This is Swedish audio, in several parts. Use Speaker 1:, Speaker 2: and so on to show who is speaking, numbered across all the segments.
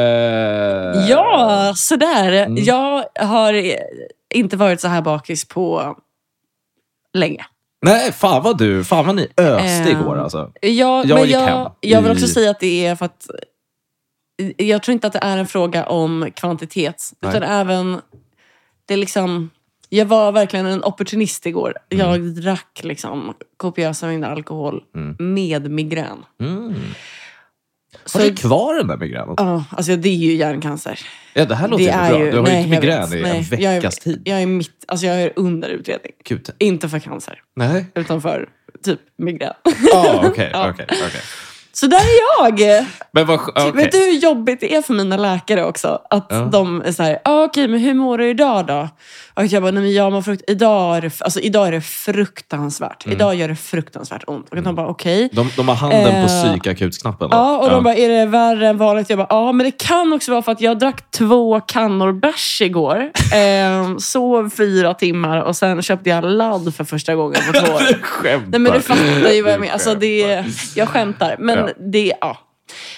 Speaker 1: Eh,
Speaker 2: Ja, sådär. Jag har eh, inte varit så här bakis på länge.
Speaker 1: Nej, fan vad du, fan vad ni öste
Speaker 2: Ehm,
Speaker 1: igår alltså.
Speaker 2: Jag,
Speaker 1: Jag
Speaker 2: men
Speaker 1: gick
Speaker 2: jag,
Speaker 1: hem
Speaker 2: jag vill också
Speaker 1: i-
Speaker 2: säga att det är för att jag tror inte att det är en fråga om kvantitet.
Speaker 1: Nej.
Speaker 2: Utan även, det är liksom, jag var verkligen en opportunist igår. Jag drack liksom kopiösa mängder alkohol
Speaker 1: Mm.
Speaker 2: med migrän.
Speaker 1: Mm.
Speaker 2: Så,
Speaker 1: Har du kvar den där migränen?
Speaker 2: ja, alltså det är ju hjärncancer.
Speaker 1: Ja, det här låter
Speaker 2: det
Speaker 1: inte bra. du har ju
Speaker 2: nej,
Speaker 1: inte
Speaker 2: jag
Speaker 1: migrän
Speaker 2: vet.
Speaker 1: i
Speaker 2: Nej,
Speaker 1: en veckas
Speaker 2: jag, är-
Speaker 1: tid.
Speaker 2: Jag är, mitt, alltså jag är under utredning.
Speaker 1: Gud.
Speaker 2: Inte för cancer,
Speaker 1: Nej.
Speaker 2: utan för typ migrän.
Speaker 1: Ah, okej,
Speaker 2: Ja.
Speaker 1: okej, okej.
Speaker 2: Så där är jag!
Speaker 1: Men vad sk- okej.
Speaker 2: Vet du hur jobbigt det är för mina läkare också? Att
Speaker 1: Ja.
Speaker 2: de är så här, ah, okej, men hur mår du idag då? Och jag bara, nej men jag mår frukt... Idag är det, alltså, idag är det fruktansvärt. Idag gör det fruktansvärt ont. Och de bara, okej.
Speaker 1: Mm. De, de har handen på
Speaker 2: Eh,
Speaker 1: psykakutsknappen. va?
Speaker 2: Ja, och de bara, är det värre än vanligt? Jag bara, ja, men det kan också vara för att jag drack två kannor bärs igår. Eh, sov fyra timmar och sen köpte jag ladd för första gången på två år.
Speaker 1: Du skämtar.
Speaker 2: Nej, men du fattar ju vad jag
Speaker 1: Du
Speaker 2: menar. Alltså, det,
Speaker 1: skämtar.
Speaker 2: jag skämtar, men
Speaker 1: Ja.
Speaker 2: det... Ja,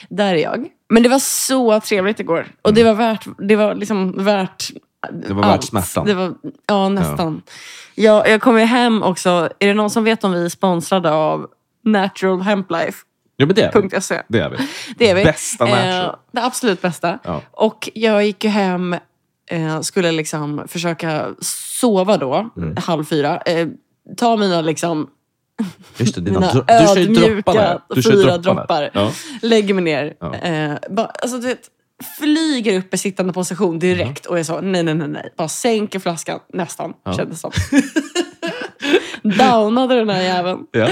Speaker 2: där är jag. Men det var så trevligt igår. Och det var värt... Det var liksom värt
Speaker 1: Mm. Det var värt smärtan.
Speaker 2: Det var, ja, nästan. Jag, jag kom ju hem också. Är det någon som vet om vi är sponsrade av naturalhemplife.se?
Speaker 1: Ja, men det är vi. Det är vi.
Speaker 2: Det är vi.
Speaker 1: Bästa natural.
Speaker 2: Eh, det absolut bästa.
Speaker 1: Ja.
Speaker 2: Och jag gick ju hem, eh, skulle liksom försöka sova då,
Speaker 1: Mm.
Speaker 2: halv fyra. Eh, ta mina liksom
Speaker 1: Just det, dina
Speaker 2: mina
Speaker 1: dro- du kör ju
Speaker 2: ödmjuka
Speaker 1: dropparna. Du kör
Speaker 2: fyra
Speaker 1: dropparna.
Speaker 2: droppar.
Speaker 1: Ja.
Speaker 2: Lägger mig ner.
Speaker 1: Ja.
Speaker 2: Eh, bara, alltså, du vet, flyger upp i sittande position direkt. Och jag sa nej, nej, nej, nej. Bara sänker flaskan nästan,
Speaker 1: Mm. Ja.
Speaker 2: kändes som. Downade den här jäveln.
Speaker 1: Ja.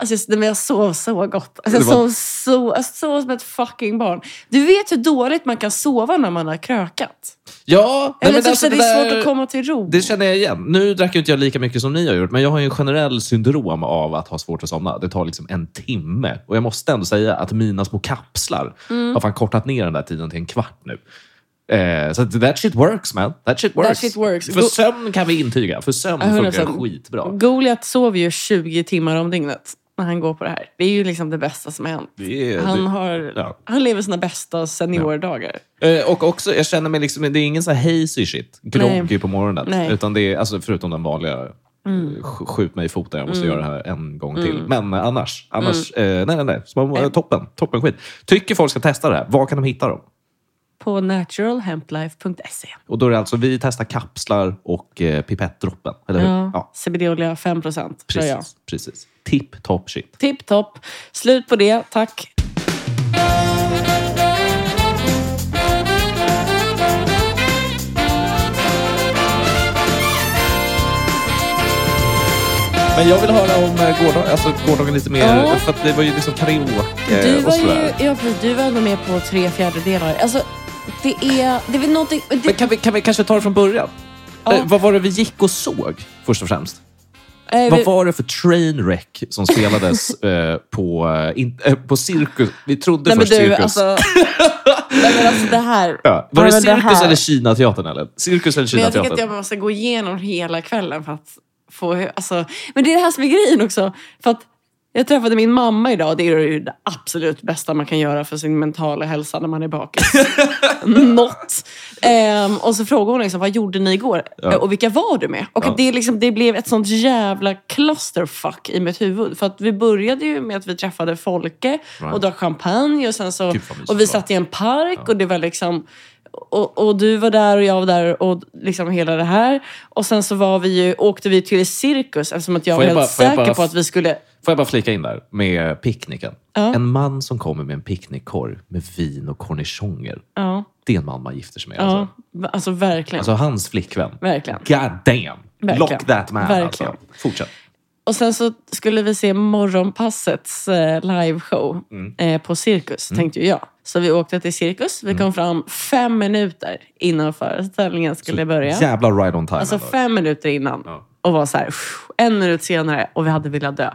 Speaker 2: Alltså, just, nej, men jag sov så gott. Alltså, jag
Speaker 1: Det var-
Speaker 2: sov så, jag sov som ett fucking barn. Du vet hur dåligt man kan sova när man har krökat.
Speaker 1: ja nej,
Speaker 2: Eller
Speaker 1: men
Speaker 2: typ,
Speaker 1: alltså
Speaker 2: så det,
Speaker 1: där-
Speaker 2: är svårt att komma till ro.
Speaker 1: Det känner jag igen. Nu drack ju inte jag lika mycket som ni har gjort, men jag har ju en generell syndrom av att ha svårt att somna. Det tar liksom en timme. Och jag måste ändå säga att mina små kapslar
Speaker 2: Mm.
Speaker 1: har fan kortat ner den där tiden till en kvart nu. Eh, så att that shit works man. That shit works.
Speaker 2: shit works.
Speaker 1: För
Speaker 2: Go-
Speaker 1: sömn kan vi intyga. För sömn
Speaker 2: Ja, hundra
Speaker 1: funkar
Speaker 2: procent.
Speaker 1: skitbra.
Speaker 2: Goliat sover ju 20 timmar om dygnet när han går på det här. Det är ju liksom det bästa som har hänt.
Speaker 1: Det är,
Speaker 2: Han,
Speaker 1: det-
Speaker 2: har,
Speaker 1: Ja.
Speaker 2: han lever sina bästa seniordagar.
Speaker 1: Eh, Och också, jag känner mig liksom, det är ingen så här hazy shit, groggy
Speaker 2: Nej.
Speaker 1: på morgonen.
Speaker 2: Nej.
Speaker 1: Utan det är, alltså, förutom den vanliga, mm. skjut mig i foten, jag måste
Speaker 2: Mm.
Speaker 1: göra det här en gång till. Men eh, annars, annars eh, nej, nej, nej. Små, eh, toppen, toppen skit. Tycker folk ska testa det här, var kan de hitta dem?
Speaker 2: På naturalhemplife.se.
Speaker 1: Och då är det alltså, vi testar kapslar och eh, pipettdroppen, eller hur?
Speaker 2: Ja. CBD-olja 5 procent, tror jag.
Speaker 1: precis. precis. Tip top shit.
Speaker 2: Tipp topp. Slut på det, tack.
Speaker 1: Men jag vill höra om eh, gårdagen, alltså gårdagen lite mer,
Speaker 2: Ja.
Speaker 1: för att det var ju liksom karaoke
Speaker 2: Du
Speaker 1: eh, och
Speaker 2: var, ju,
Speaker 1: sådär.
Speaker 2: ja, precis, du var ändå med på tre fjärdedelar. Alltså, det är... Det är väl någonting... Det,
Speaker 1: Men kan vi, kan vi kanske ta det från början?
Speaker 2: Ja.
Speaker 1: Eh, vad var det vi gick och såg, först och främst?
Speaker 2: eh,
Speaker 1: Vad var det för trainwreck som spelades eh, på, eh, in, eh, på cirkus? Vi trodde
Speaker 2: Nej men
Speaker 1: först
Speaker 2: du,
Speaker 1: cirkus.
Speaker 2: alltså, nej, men alltså det här...
Speaker 1: ja. Var
Speaker 2: Nej,
Speaker 1: det
Speaker 2: men
Speaker 1: cirkus
Speaker 2: här-
Speaker 1: eller Kinateatern? Eller? Cirkus eller
Speaker 2: Men jag tycker
Speaker 1: Kinateatern?
Speaker 2: att jag måste gå igenom hela kvällen för att få... Alltså, men det är det här som är grejen också. För att jag träffade min mamma idag och det är ju det absolut bästa man kan göra för sin mentala hälsa när man är bakis. Mm. Något. Ehm, och så frågade hon liksom, vad gjorde ni igår
Speaker 1: Ja.
Speaker 2: och vilka var du med? Och
Speaker 1: Ja.
Speaker 2: att det, är liksom, det blev ett sånt jävla clusterfuck i mitt huvud. För att vi började ju med att vi träffade Folke
Speaker 1: Right. Typ
Speaker 2: och drack champagne och sen så
Speaker 1: Gud, vad mysigt
Speaker 2: och
Speaker 1: det
Speaker 2: vi
Speaker 1: var.
Speaker 2: satt i en park och det var liksom... Och, och du var där och jag var där och liksom hela det här. Och sen så var vi ju, åkte vi till cirkus eftersom att jag
Speaker 1: Får
Speaker 2: var
Speaker 1: jag
Speaker 2: helt
Speaker 1: bara- får jag
Speaker 2: säker
Speaker 1: bara-
Speaker 2: på att vi skulle...
Speaker 1: Får jag bara flika in där med picknicken?
Speaker 2: Ja.
Speaker 1: En man som kommer med en picknickkorg med vin och cornichoner.
Speaker 2: Ja,
Speaker 1: Det är en man man gifter sig med.
Speaker 2: ja
Speaker 1: Alltså.
Speaker 2: va- alltså verkligen.
Speaker 1: alltså hans flickvän.
Speaker 2: Verkligen.
Speaker 1: God damn!
Speaker 2: Verkligen.
Speaker 1: Lock that man.
Speaker 2: Verkligen.
Speaker 1: Alltså. Fortsätt.
Speaker 2: Och sen så skulle vi se Morgonpassets eh, liveshow
Speaker 1: Mm.
Speaker 2: eh, på Cirkus, tänkte ju jag. Så vi åkte till Cirkus.
Speaker 1: Mm.
Speaker 2: Vi kom fram fem minuter innan föreställningen skulle börja.
Speaker 1: Jävla ride on time.
Speaker 2: Alltså
Speaker 1: ändå.
Speaker 2: fem minuter innan.
Speaker 1: Ja.
Speaker 2: Och var så här, "Pff, en minut senare och vi hade velat dö.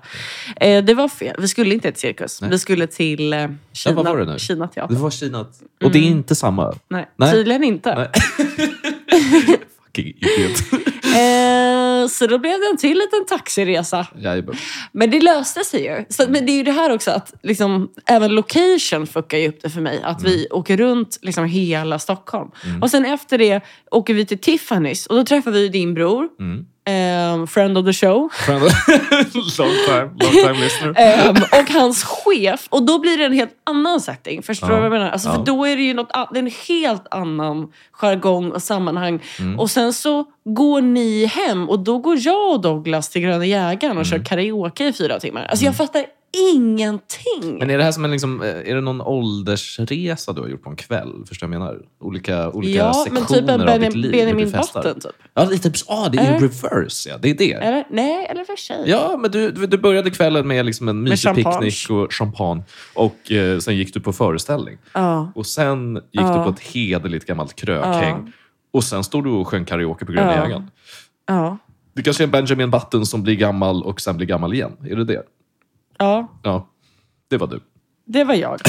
Speaker 2: Eh, det var fel. Vi skulle inte till cirkus. Vi skulle till eh,
Speaker 1: Ja, vad
Speaker 2: Kina,
Speaker 1: var det nu?
Speaker 2: Kina teater.
Speaker 1: Det var Kina. Och det är inte samma.
Speaker 2: Nej,
Speaker 1: Nej.
Speaker 2: tydligen inte.
Speaker 1: Fucking idiot.
Speaker 2: Eh, Eh, Så då blev det en till liten taxiresa.
Speaker 1: Jajamän.
Speaker 2: Men det löste sig ju. Så, att- men det är ju det här också att liksom, även location fuckar ju upp det för mig. Att vi åker runt liksom, hela Stockholm. Och sen efter det åker vi till Tiffany's och då träffar vi din bror.
Speaker 1: Mm.
Speaker 2: ehm, friend of the show.
Speaker 1: Fan. long time, long time listener.
Speaker 2: Ehm, och hans chef. Och då blir det en helt annan setting. Förstår du
Speaker 1: Ja.
Speaker 2: vad jag menar? Alltså,
Speaker 1: Ja.
Speaker 2: För då är det ju något, an- det är en helt annan jargong och sammanhang.
Speaker 1: Mm.
Speaker 2: Och sen så går ni hem och då går jag och Douglas till Gröna Jägaren
Speaker 1: Mm.
Speaker 2: och kör karaoke i fyra timmar. Alltså jag fattar ingenting.
Speaker 1: Men är det här som en liksom, eh, är det någon åldersresa du har gjort på en kväll? Förstår du vad jag menar? Olika, olika
Speaker 2: ja, men
Speaker 1: sektioner
Speaker 2: typ en
Speaker 1: av ditt
Speaker 2: Benjamin,
Speaker 1: liv hur
Speaker 2: Benjamin
Speaker 1: du festar.
Speaker 2: Button Eh. typ.
Speaker 1: Ja, lite, ah, det är
Speaker 2: Eller?
Speaker 1: ju reverse. Ja, det är det.
Speaker 2: Eller? Nej, eller för sig.
Speaker 1: Ja, men du, du du började kvällen med liksom en mysig
Speaker 2: champagne.
Speaker 1: picknick och champagne. Och eh, sen gick du på föreställning.
Speaker 2: Ja.
Speaker 1: Och sen gick
Speaker 2: Ja.
Speaker 1: du på ett hederligt gammalt krökhäng.
Speaker 2: Ja.
Speaker 1: Och sen stod du och sjöng karaoke på Gröna
Speaker 2: Ja.
Speaker 1: Jägaren.
Speaker 2: Ja.
Speaker 1: Det kanske är en Benjamin Button som blir gammal och sen blir gammal igen. Är det det?
Speaker 2: ja,
Speaker 1: Ja, det var du.
Speaker 2: det var jag.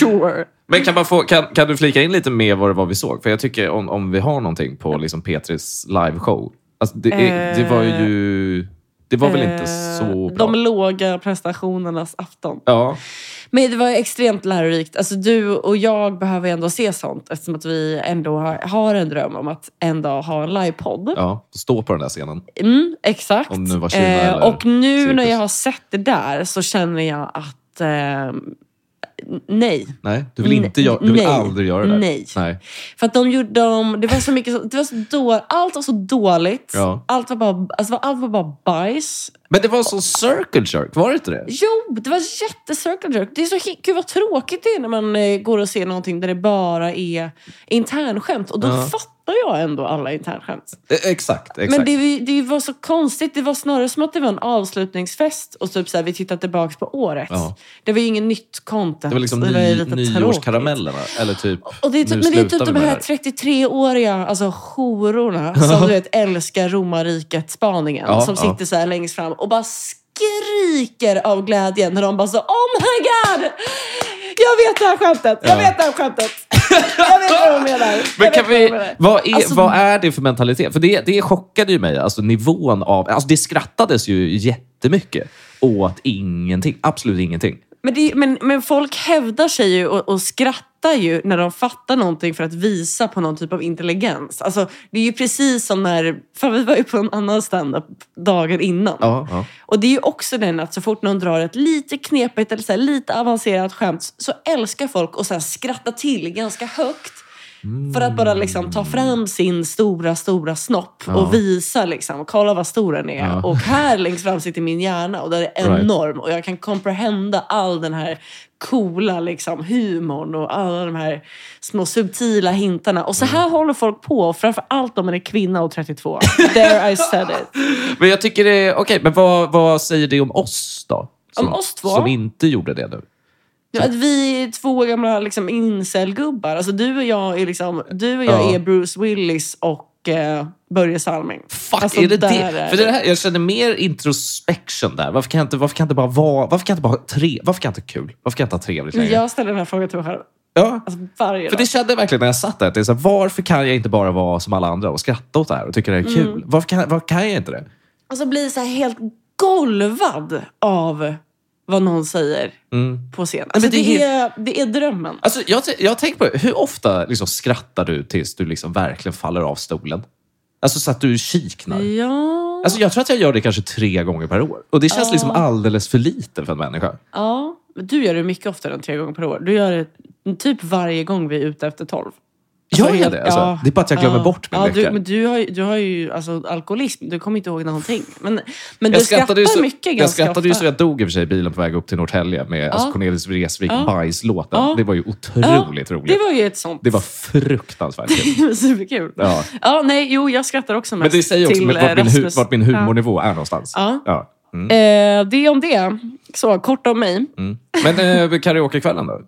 Speaker 2: sure.
Speaker 1: Men kan, man få, kan, kan du flika in lite mer vad det var vi såg? För jag tycker om, om vi har någonting på liksom Petris liveshow. Alltså det, är, det var ju... Det var väl inte så
Speaker 2: Eh,
Speaker 1: bra?
Speaker 2: De låga prestationernas afton.
Speaker 1: Ja.
Speaker 2: Men det var extremt lärorikt. Alltså, du och jag behöver ändå se sånt eftersom att vi ändå har, har en dröm om att en dag ha en livepodd.
Speaker 1: ja, stå på den där scenen.
Speaker 2: Mm, exakt. Eh,
Speaker 1: Om det var Kina eller
Speaker 2: och nu när
Speaker 1: cirkus.
Speaker 2: jag har sett det där så känner jag att eh, n- nej.
Speaker 1: Nej, du vill, inte
Speaker 2: Nej.
Speaker 1: gö- du vill
Speaker 2: Nej.
Speaker 1: aldrig göra det där.
Speaker 2: Nej.
Speaker 1: Nej.
Speaker 2: För att de gjorde de, det var så mycket, så- det var så dåligt, allt var så dåligt.
Speaker 1: Ja.
Speaker 2: Allt, var bara, alltså, allt var bara bajs.
Speaker 1: Men det var så circle jerk, var det inte det?
Speaker 2: Jo, det var jättecircle jerk. Det är så hi- gud vad tråkigt det är när man eh, går och ser någonting där det bara är internskämt. Och då
Speaker 1: Ja.
Speaker 2: fattar jag ändå alla internskämt.
Speaker 1: Eh, Exakt, exakt.
Speaker 2: Men det, var ju- det var så konstigt. Det var snarare som att det var en avslutningsfest och typ så här, vi tittar tillbaka på året.
Speaker 1: Ja.
Speaker 2: Det var ju ingen nytt content.
Speaker 1: Det var liksom
Speaker 2: var ju
Speaker 1: ny,
Speaker 2: lite tråkigt.
Speaker 1: nyårskaramellerna. Eller typ,
Speaker 2: Och det är
Speaker 1: nu
Speaker 2: typ, men det är
Speaker 1: slutar
Speaker 2: typ
Speaker 1: vi
Speaker 2: de
Speaker 1: med det
Speaker 2: här 33-åriga alltså, hororna som du vet, älskar romarriket-spaningen.
Speaker 1: Ja,
Speaker 2: som
Speaker 1: ja.
Speaker 2: sitter så här längst fram och bara skriker av glädje när de bara så Oh my god! Jag vet det här skämtet! Jag
Speaker 1: Ja.
Speaker 2: vet det här skämtet! Jag vet vad de menar! Jag
Speaker 1: Men
Speaker 2: vet
Speaker 1: kan
Speaker 2: vad de
Speaker 1: vi,
Speaker 2: menar.
Speaker 1: vad, är,
Speaker 2: Alltså-
Speaker 1: vad är det för mentalitet? För det, det chockade ju mig, alltså nivån av... Alltså det skrattades ju jättemycket åt ingenting. Absolut ingenting.
Speaker 2: Men, det, men, men folk hävdar sig ju och, och skrattar ju när de fattar någonting för att visa på någon typ av intelligens. Alltså, det är ju precis som när... Fan, vi var ju på en annan standup dagen innan.
Speaker 1: Ja, ja.
Speaker 2: Och det är ju också den att så fort någon drar ett lite knepigt eller så här, lite avancerat skämt så älskar folk och så här, skratta till ganska högt. För att bara liksom ta fram sin stora, stora snopp
Speaker 1: Ja.
Speaker 2: och visa liksom, kolla vad stor den är.
Speaker 1: Ja.
Speaker 2: Och här längst fram sitter min hjärna och den är
Speaker 1: Right.
Speaker 2: enorm. Och jag kan comprehenda all den här coola liksom, humorn och alla de här små subtila hintarna. Och så
Speaker 1: Mm.
Speaker 2: här håller folk på, framför allt om man är kvinna och 32. There I said it.
Speaker 1: Men jag tycker det... Okej, men vad, vad säger det om oss då? Som,
Speaker 2: Om oss två?
Speaker 1: Som inte gjorde det nu.
Speaker 2: Ja, att vi är två gamla liksom, incelgubbar. Alltså, du och jag är, liksom, du och jag
Speaker 1: Ja.
Speaker 2: är Bruce Willis och eh, Börje Salming.
Speaker 1: Fuck,
Speaker 2: Alltså,
Speaker 1: är det
Speaker 2: där
Speaker 1: det?
Speaker 2: är
Speaker 1: För det här, jag känner mer introspection där. Varför kan jag inte, varför kan jag inte bara vara... Varför kan jag inte bara ha tre... Varför kan jag inte ha kul? Varför kan jag inte ha trevligt längre?
Speaker 2: Jag ställer den här frågan till mig själv
Speaker 1: Ja.
Speaker 2: alltså, varje
Speaker 1: För
Speaker 2: dag.
Speaker 1: det kände jag verkligen när jag satt där. Att det är så här, varför kan jag inte bara vara som alla andra och skratta åt det här och tycka det här är
Speaker 2: Mm.
Speaker 1: kul? Varför, kan, varför kan jag inte det?
Speaker 2: Alltså blir så här helt golvad av vad någon säger på scen. Alltså,
Speaker 1: det är
Speaker 2: det,
Speaker 1: helt-
Speaker 2: är, det är drömmen.
Speaker 1: Mm. Alltså, jag, t- jag har tänkt på det. hur ofta liksom skrattar du tills du liksom verkligen faller av stolen? Alltså så att du kiknar.
Speaker 2: Mm. Ja.
Speaker 1: Alltså, jag tror att jag gör det kanske tre gånger per år. Och det känns
Speaker 2: Ja.
Speaker 1: liksom alldeles för lite för en människa.
Speaker 2: ja. Men Du gör det mycket oftare än tre gånger per år. Du gör det typ varje gång vi är ute efter tolv.
Speaker 1: Gör
Speaker 2: Alltså,
Speaker 1: jag
Speaker 2: helt-
Speaker 1: det? Alltså,
Speaker 2: ja.
Speaker 1: det är bara att jag glömmer
Speaker 2: Ja.
Speaker 1: bort min
Speaker 2: ja,
Speaker 1: vecka.
Speaker 2: du, men du har, ju- du har ju alltså, alkoholism. Du kommer inte ihåg någonting. Men, men du
Speaker 1: jag skrattade ju
Speaker 2: skrattar
Speaker 1: så,
Speaker 2: mycket ganska
Speaker 1: Jag skrattade
Speaker 2: ofta.
Speaker 1: ju så jag dog i och för sig i bilen på väg upp till Norrtälje med alltså Cornelis Vreeswijk, Bajslåten.
Speaker 2: Ja.
Speaker 1: Det var ju otroligt roligt.
Speaker 2: Det var ju ett sånt.
Speaker 1: det var fruktansvärt kul.
Speaker 2: superkul. Ja.
Speaker 1: Ja.
Speaker 2: nej, jo, jag skrattar också mest
Speaker 1: Men det säger också
Speaker 2: till
Speaker 1: med vart
Speaker 2: eh,
Speaker 1: min, hu-
Speaker 2: Rasmus.
Speaker 1: vart min humornivå är någonstans.
Speaker 2: Ja.
Speaker 1: Ja. Mm.
Speaker 2: Eh, det är om det. Så, kort om mig.
Speaker 1: Mm. Men eh, karaokekvällen då?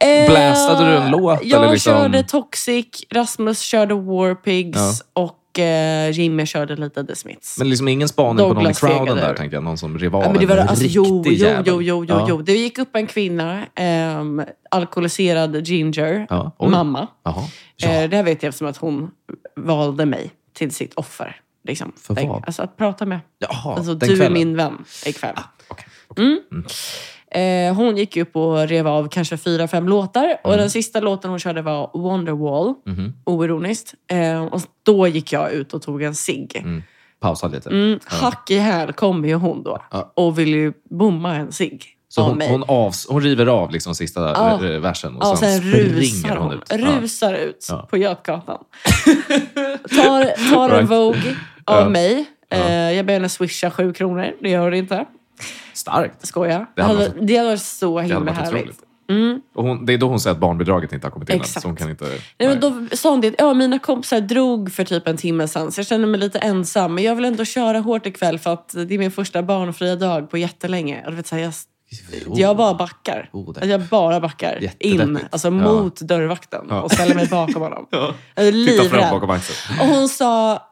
Speaker 2: Eh,
Speaker 1: Bläsade du en låt,
Speaker 2: Jag
Speaker 1: eller liksom-
Speaker 2: körde Toxic, Rasmus körde War Pigs och eh, Jimmy körde lite The Smiths.
Speaker 1: Men liksom ingen spaning på någon i
Speaker 2: Douglas
Speaker 1: crowden
Speaker 2: fegade
Speaker 1: där,
Speaker 2: ur.
Speaker 1: tänker jag. Någon som rival.
Speaker 2: Ja, men det var,
Speaker 1: en
Speaker 2: alltså,
Speaker 1: riktig
Speaker 2: jo, jo,
Speaker 1: jävel.
Speaker 2: jo, jo, jo,
Speaker 1: Ja.
Speaker 2: jo. Det gick upp en kvinna, ehm, alkoholiserad ginger,
Speaker 1: Ja, oj.
Speaker 2: mamma.
Speaker 1: Jaha. Ja.
Speaker 2: Eh, det här vet jag eftersom att hon valde mig till sitt offer. Liksom.
Speaker 1: För
Speaker 2: Tänk,
Speaker 1: vad?
Speaker 2: Alltså att prata med.
Speaker 1: Jaha,
Speaker 2: Alltså,
Speaker 1: den
Speaker 2: du
Speaker 1: kvällen. Ah,
Speaker 2: är min vän ikväll. Mm.
Speaker 1: Okej. Mm.
Speaker 2: Eh, hon gick ju upp och rev av kanske fyra, fem låtar.
Speaker 1: Mm.
Speaker 2: Och den sista låten hon körde var Wonderwall,
Speaker 1: Mhm.
Speaker 2: oironiskt. Eh, och då gick jag ut och tog en cigg.
Speaker 1: Mm. Pausa lite.
Speaker 2: Mm, hack i häl kommer ju hon då
Speaker 1: Ja.
Speaker 2: och vill ju bomma en cigg
Speaker 1: Så
Speaker 2: av
Speaker 1: hon,
Speaker 2: mig.
Speaker 1: hon, avs- hon river av liksom sista
Speaker 2: Ja.
Speaker 1: r- r- versen och
Speaker 2: ja,
Speaker 1: sen,
Speaker 2: sen
Speaker 1: springer
Speaker 2: rusar
Speaker 1: hon,
Speaker 2: hon,
Speaker 1: ut.
Speaker 2: rusar ut
Speaker 1: Ja.
Speaker 2: på Götgatan. tar, tar en
Speaker 1: Right.
Speaker 2: Vogue av
Speaker 1: Ja.
Speaker 2: mig.
Speaker 1: Ja.
Speaker 2: Eh, jag ber henne swisha sju kronor. Det gör hon inte.
Speaker 1: Ja. Starkt.
Speaker 2: Skoja.
Speaker 1: Det
Speaker 2: Det
Speaker 1: hade
Speaker 2: hade, det hade varit så
Speaker 1: Det hade
Speaker 2: himla
Speaker 1: varit
Speaker 2: härligt.
Speaker 1: otroligt.
Speaker 2: Mm.
Speaker 1: Och hon, det är då hon säger att barnbidraget inte har kommit in än.
Speaker 2: Exakt.
Speaker 1: Så hon kan inte...
Speaker 2: Nej, men då sa hon det, ja, mina kompisar drog för typ en timme sedan så jag känner mig lite ensam. Men jag vill ändå köra hårt ikväll för att det är min första barnfria dag på jättelänge. Och du vet, så här, jag,
Speaker 1: Jo.
Speaker 2: jag bara backar.
Speaker 1: Oh, det-
Speaker 2: Att jag bara backar in,
Speaker 1: Jättedeppigt.
Speaker 2: alltså
Speaker 1: Ja.
Speaker 2: mot dörrvakten
Speaker 1: Ja.
Speaker 2: och ställer mig bakom honom.
Speaker 1: Ja.
Speaker 2: Jag är
Speaker 1: Titta fram
Speaker 2: livrädd.
Speaker 1: bakom axeln.
Speaker 2: Och hon sa,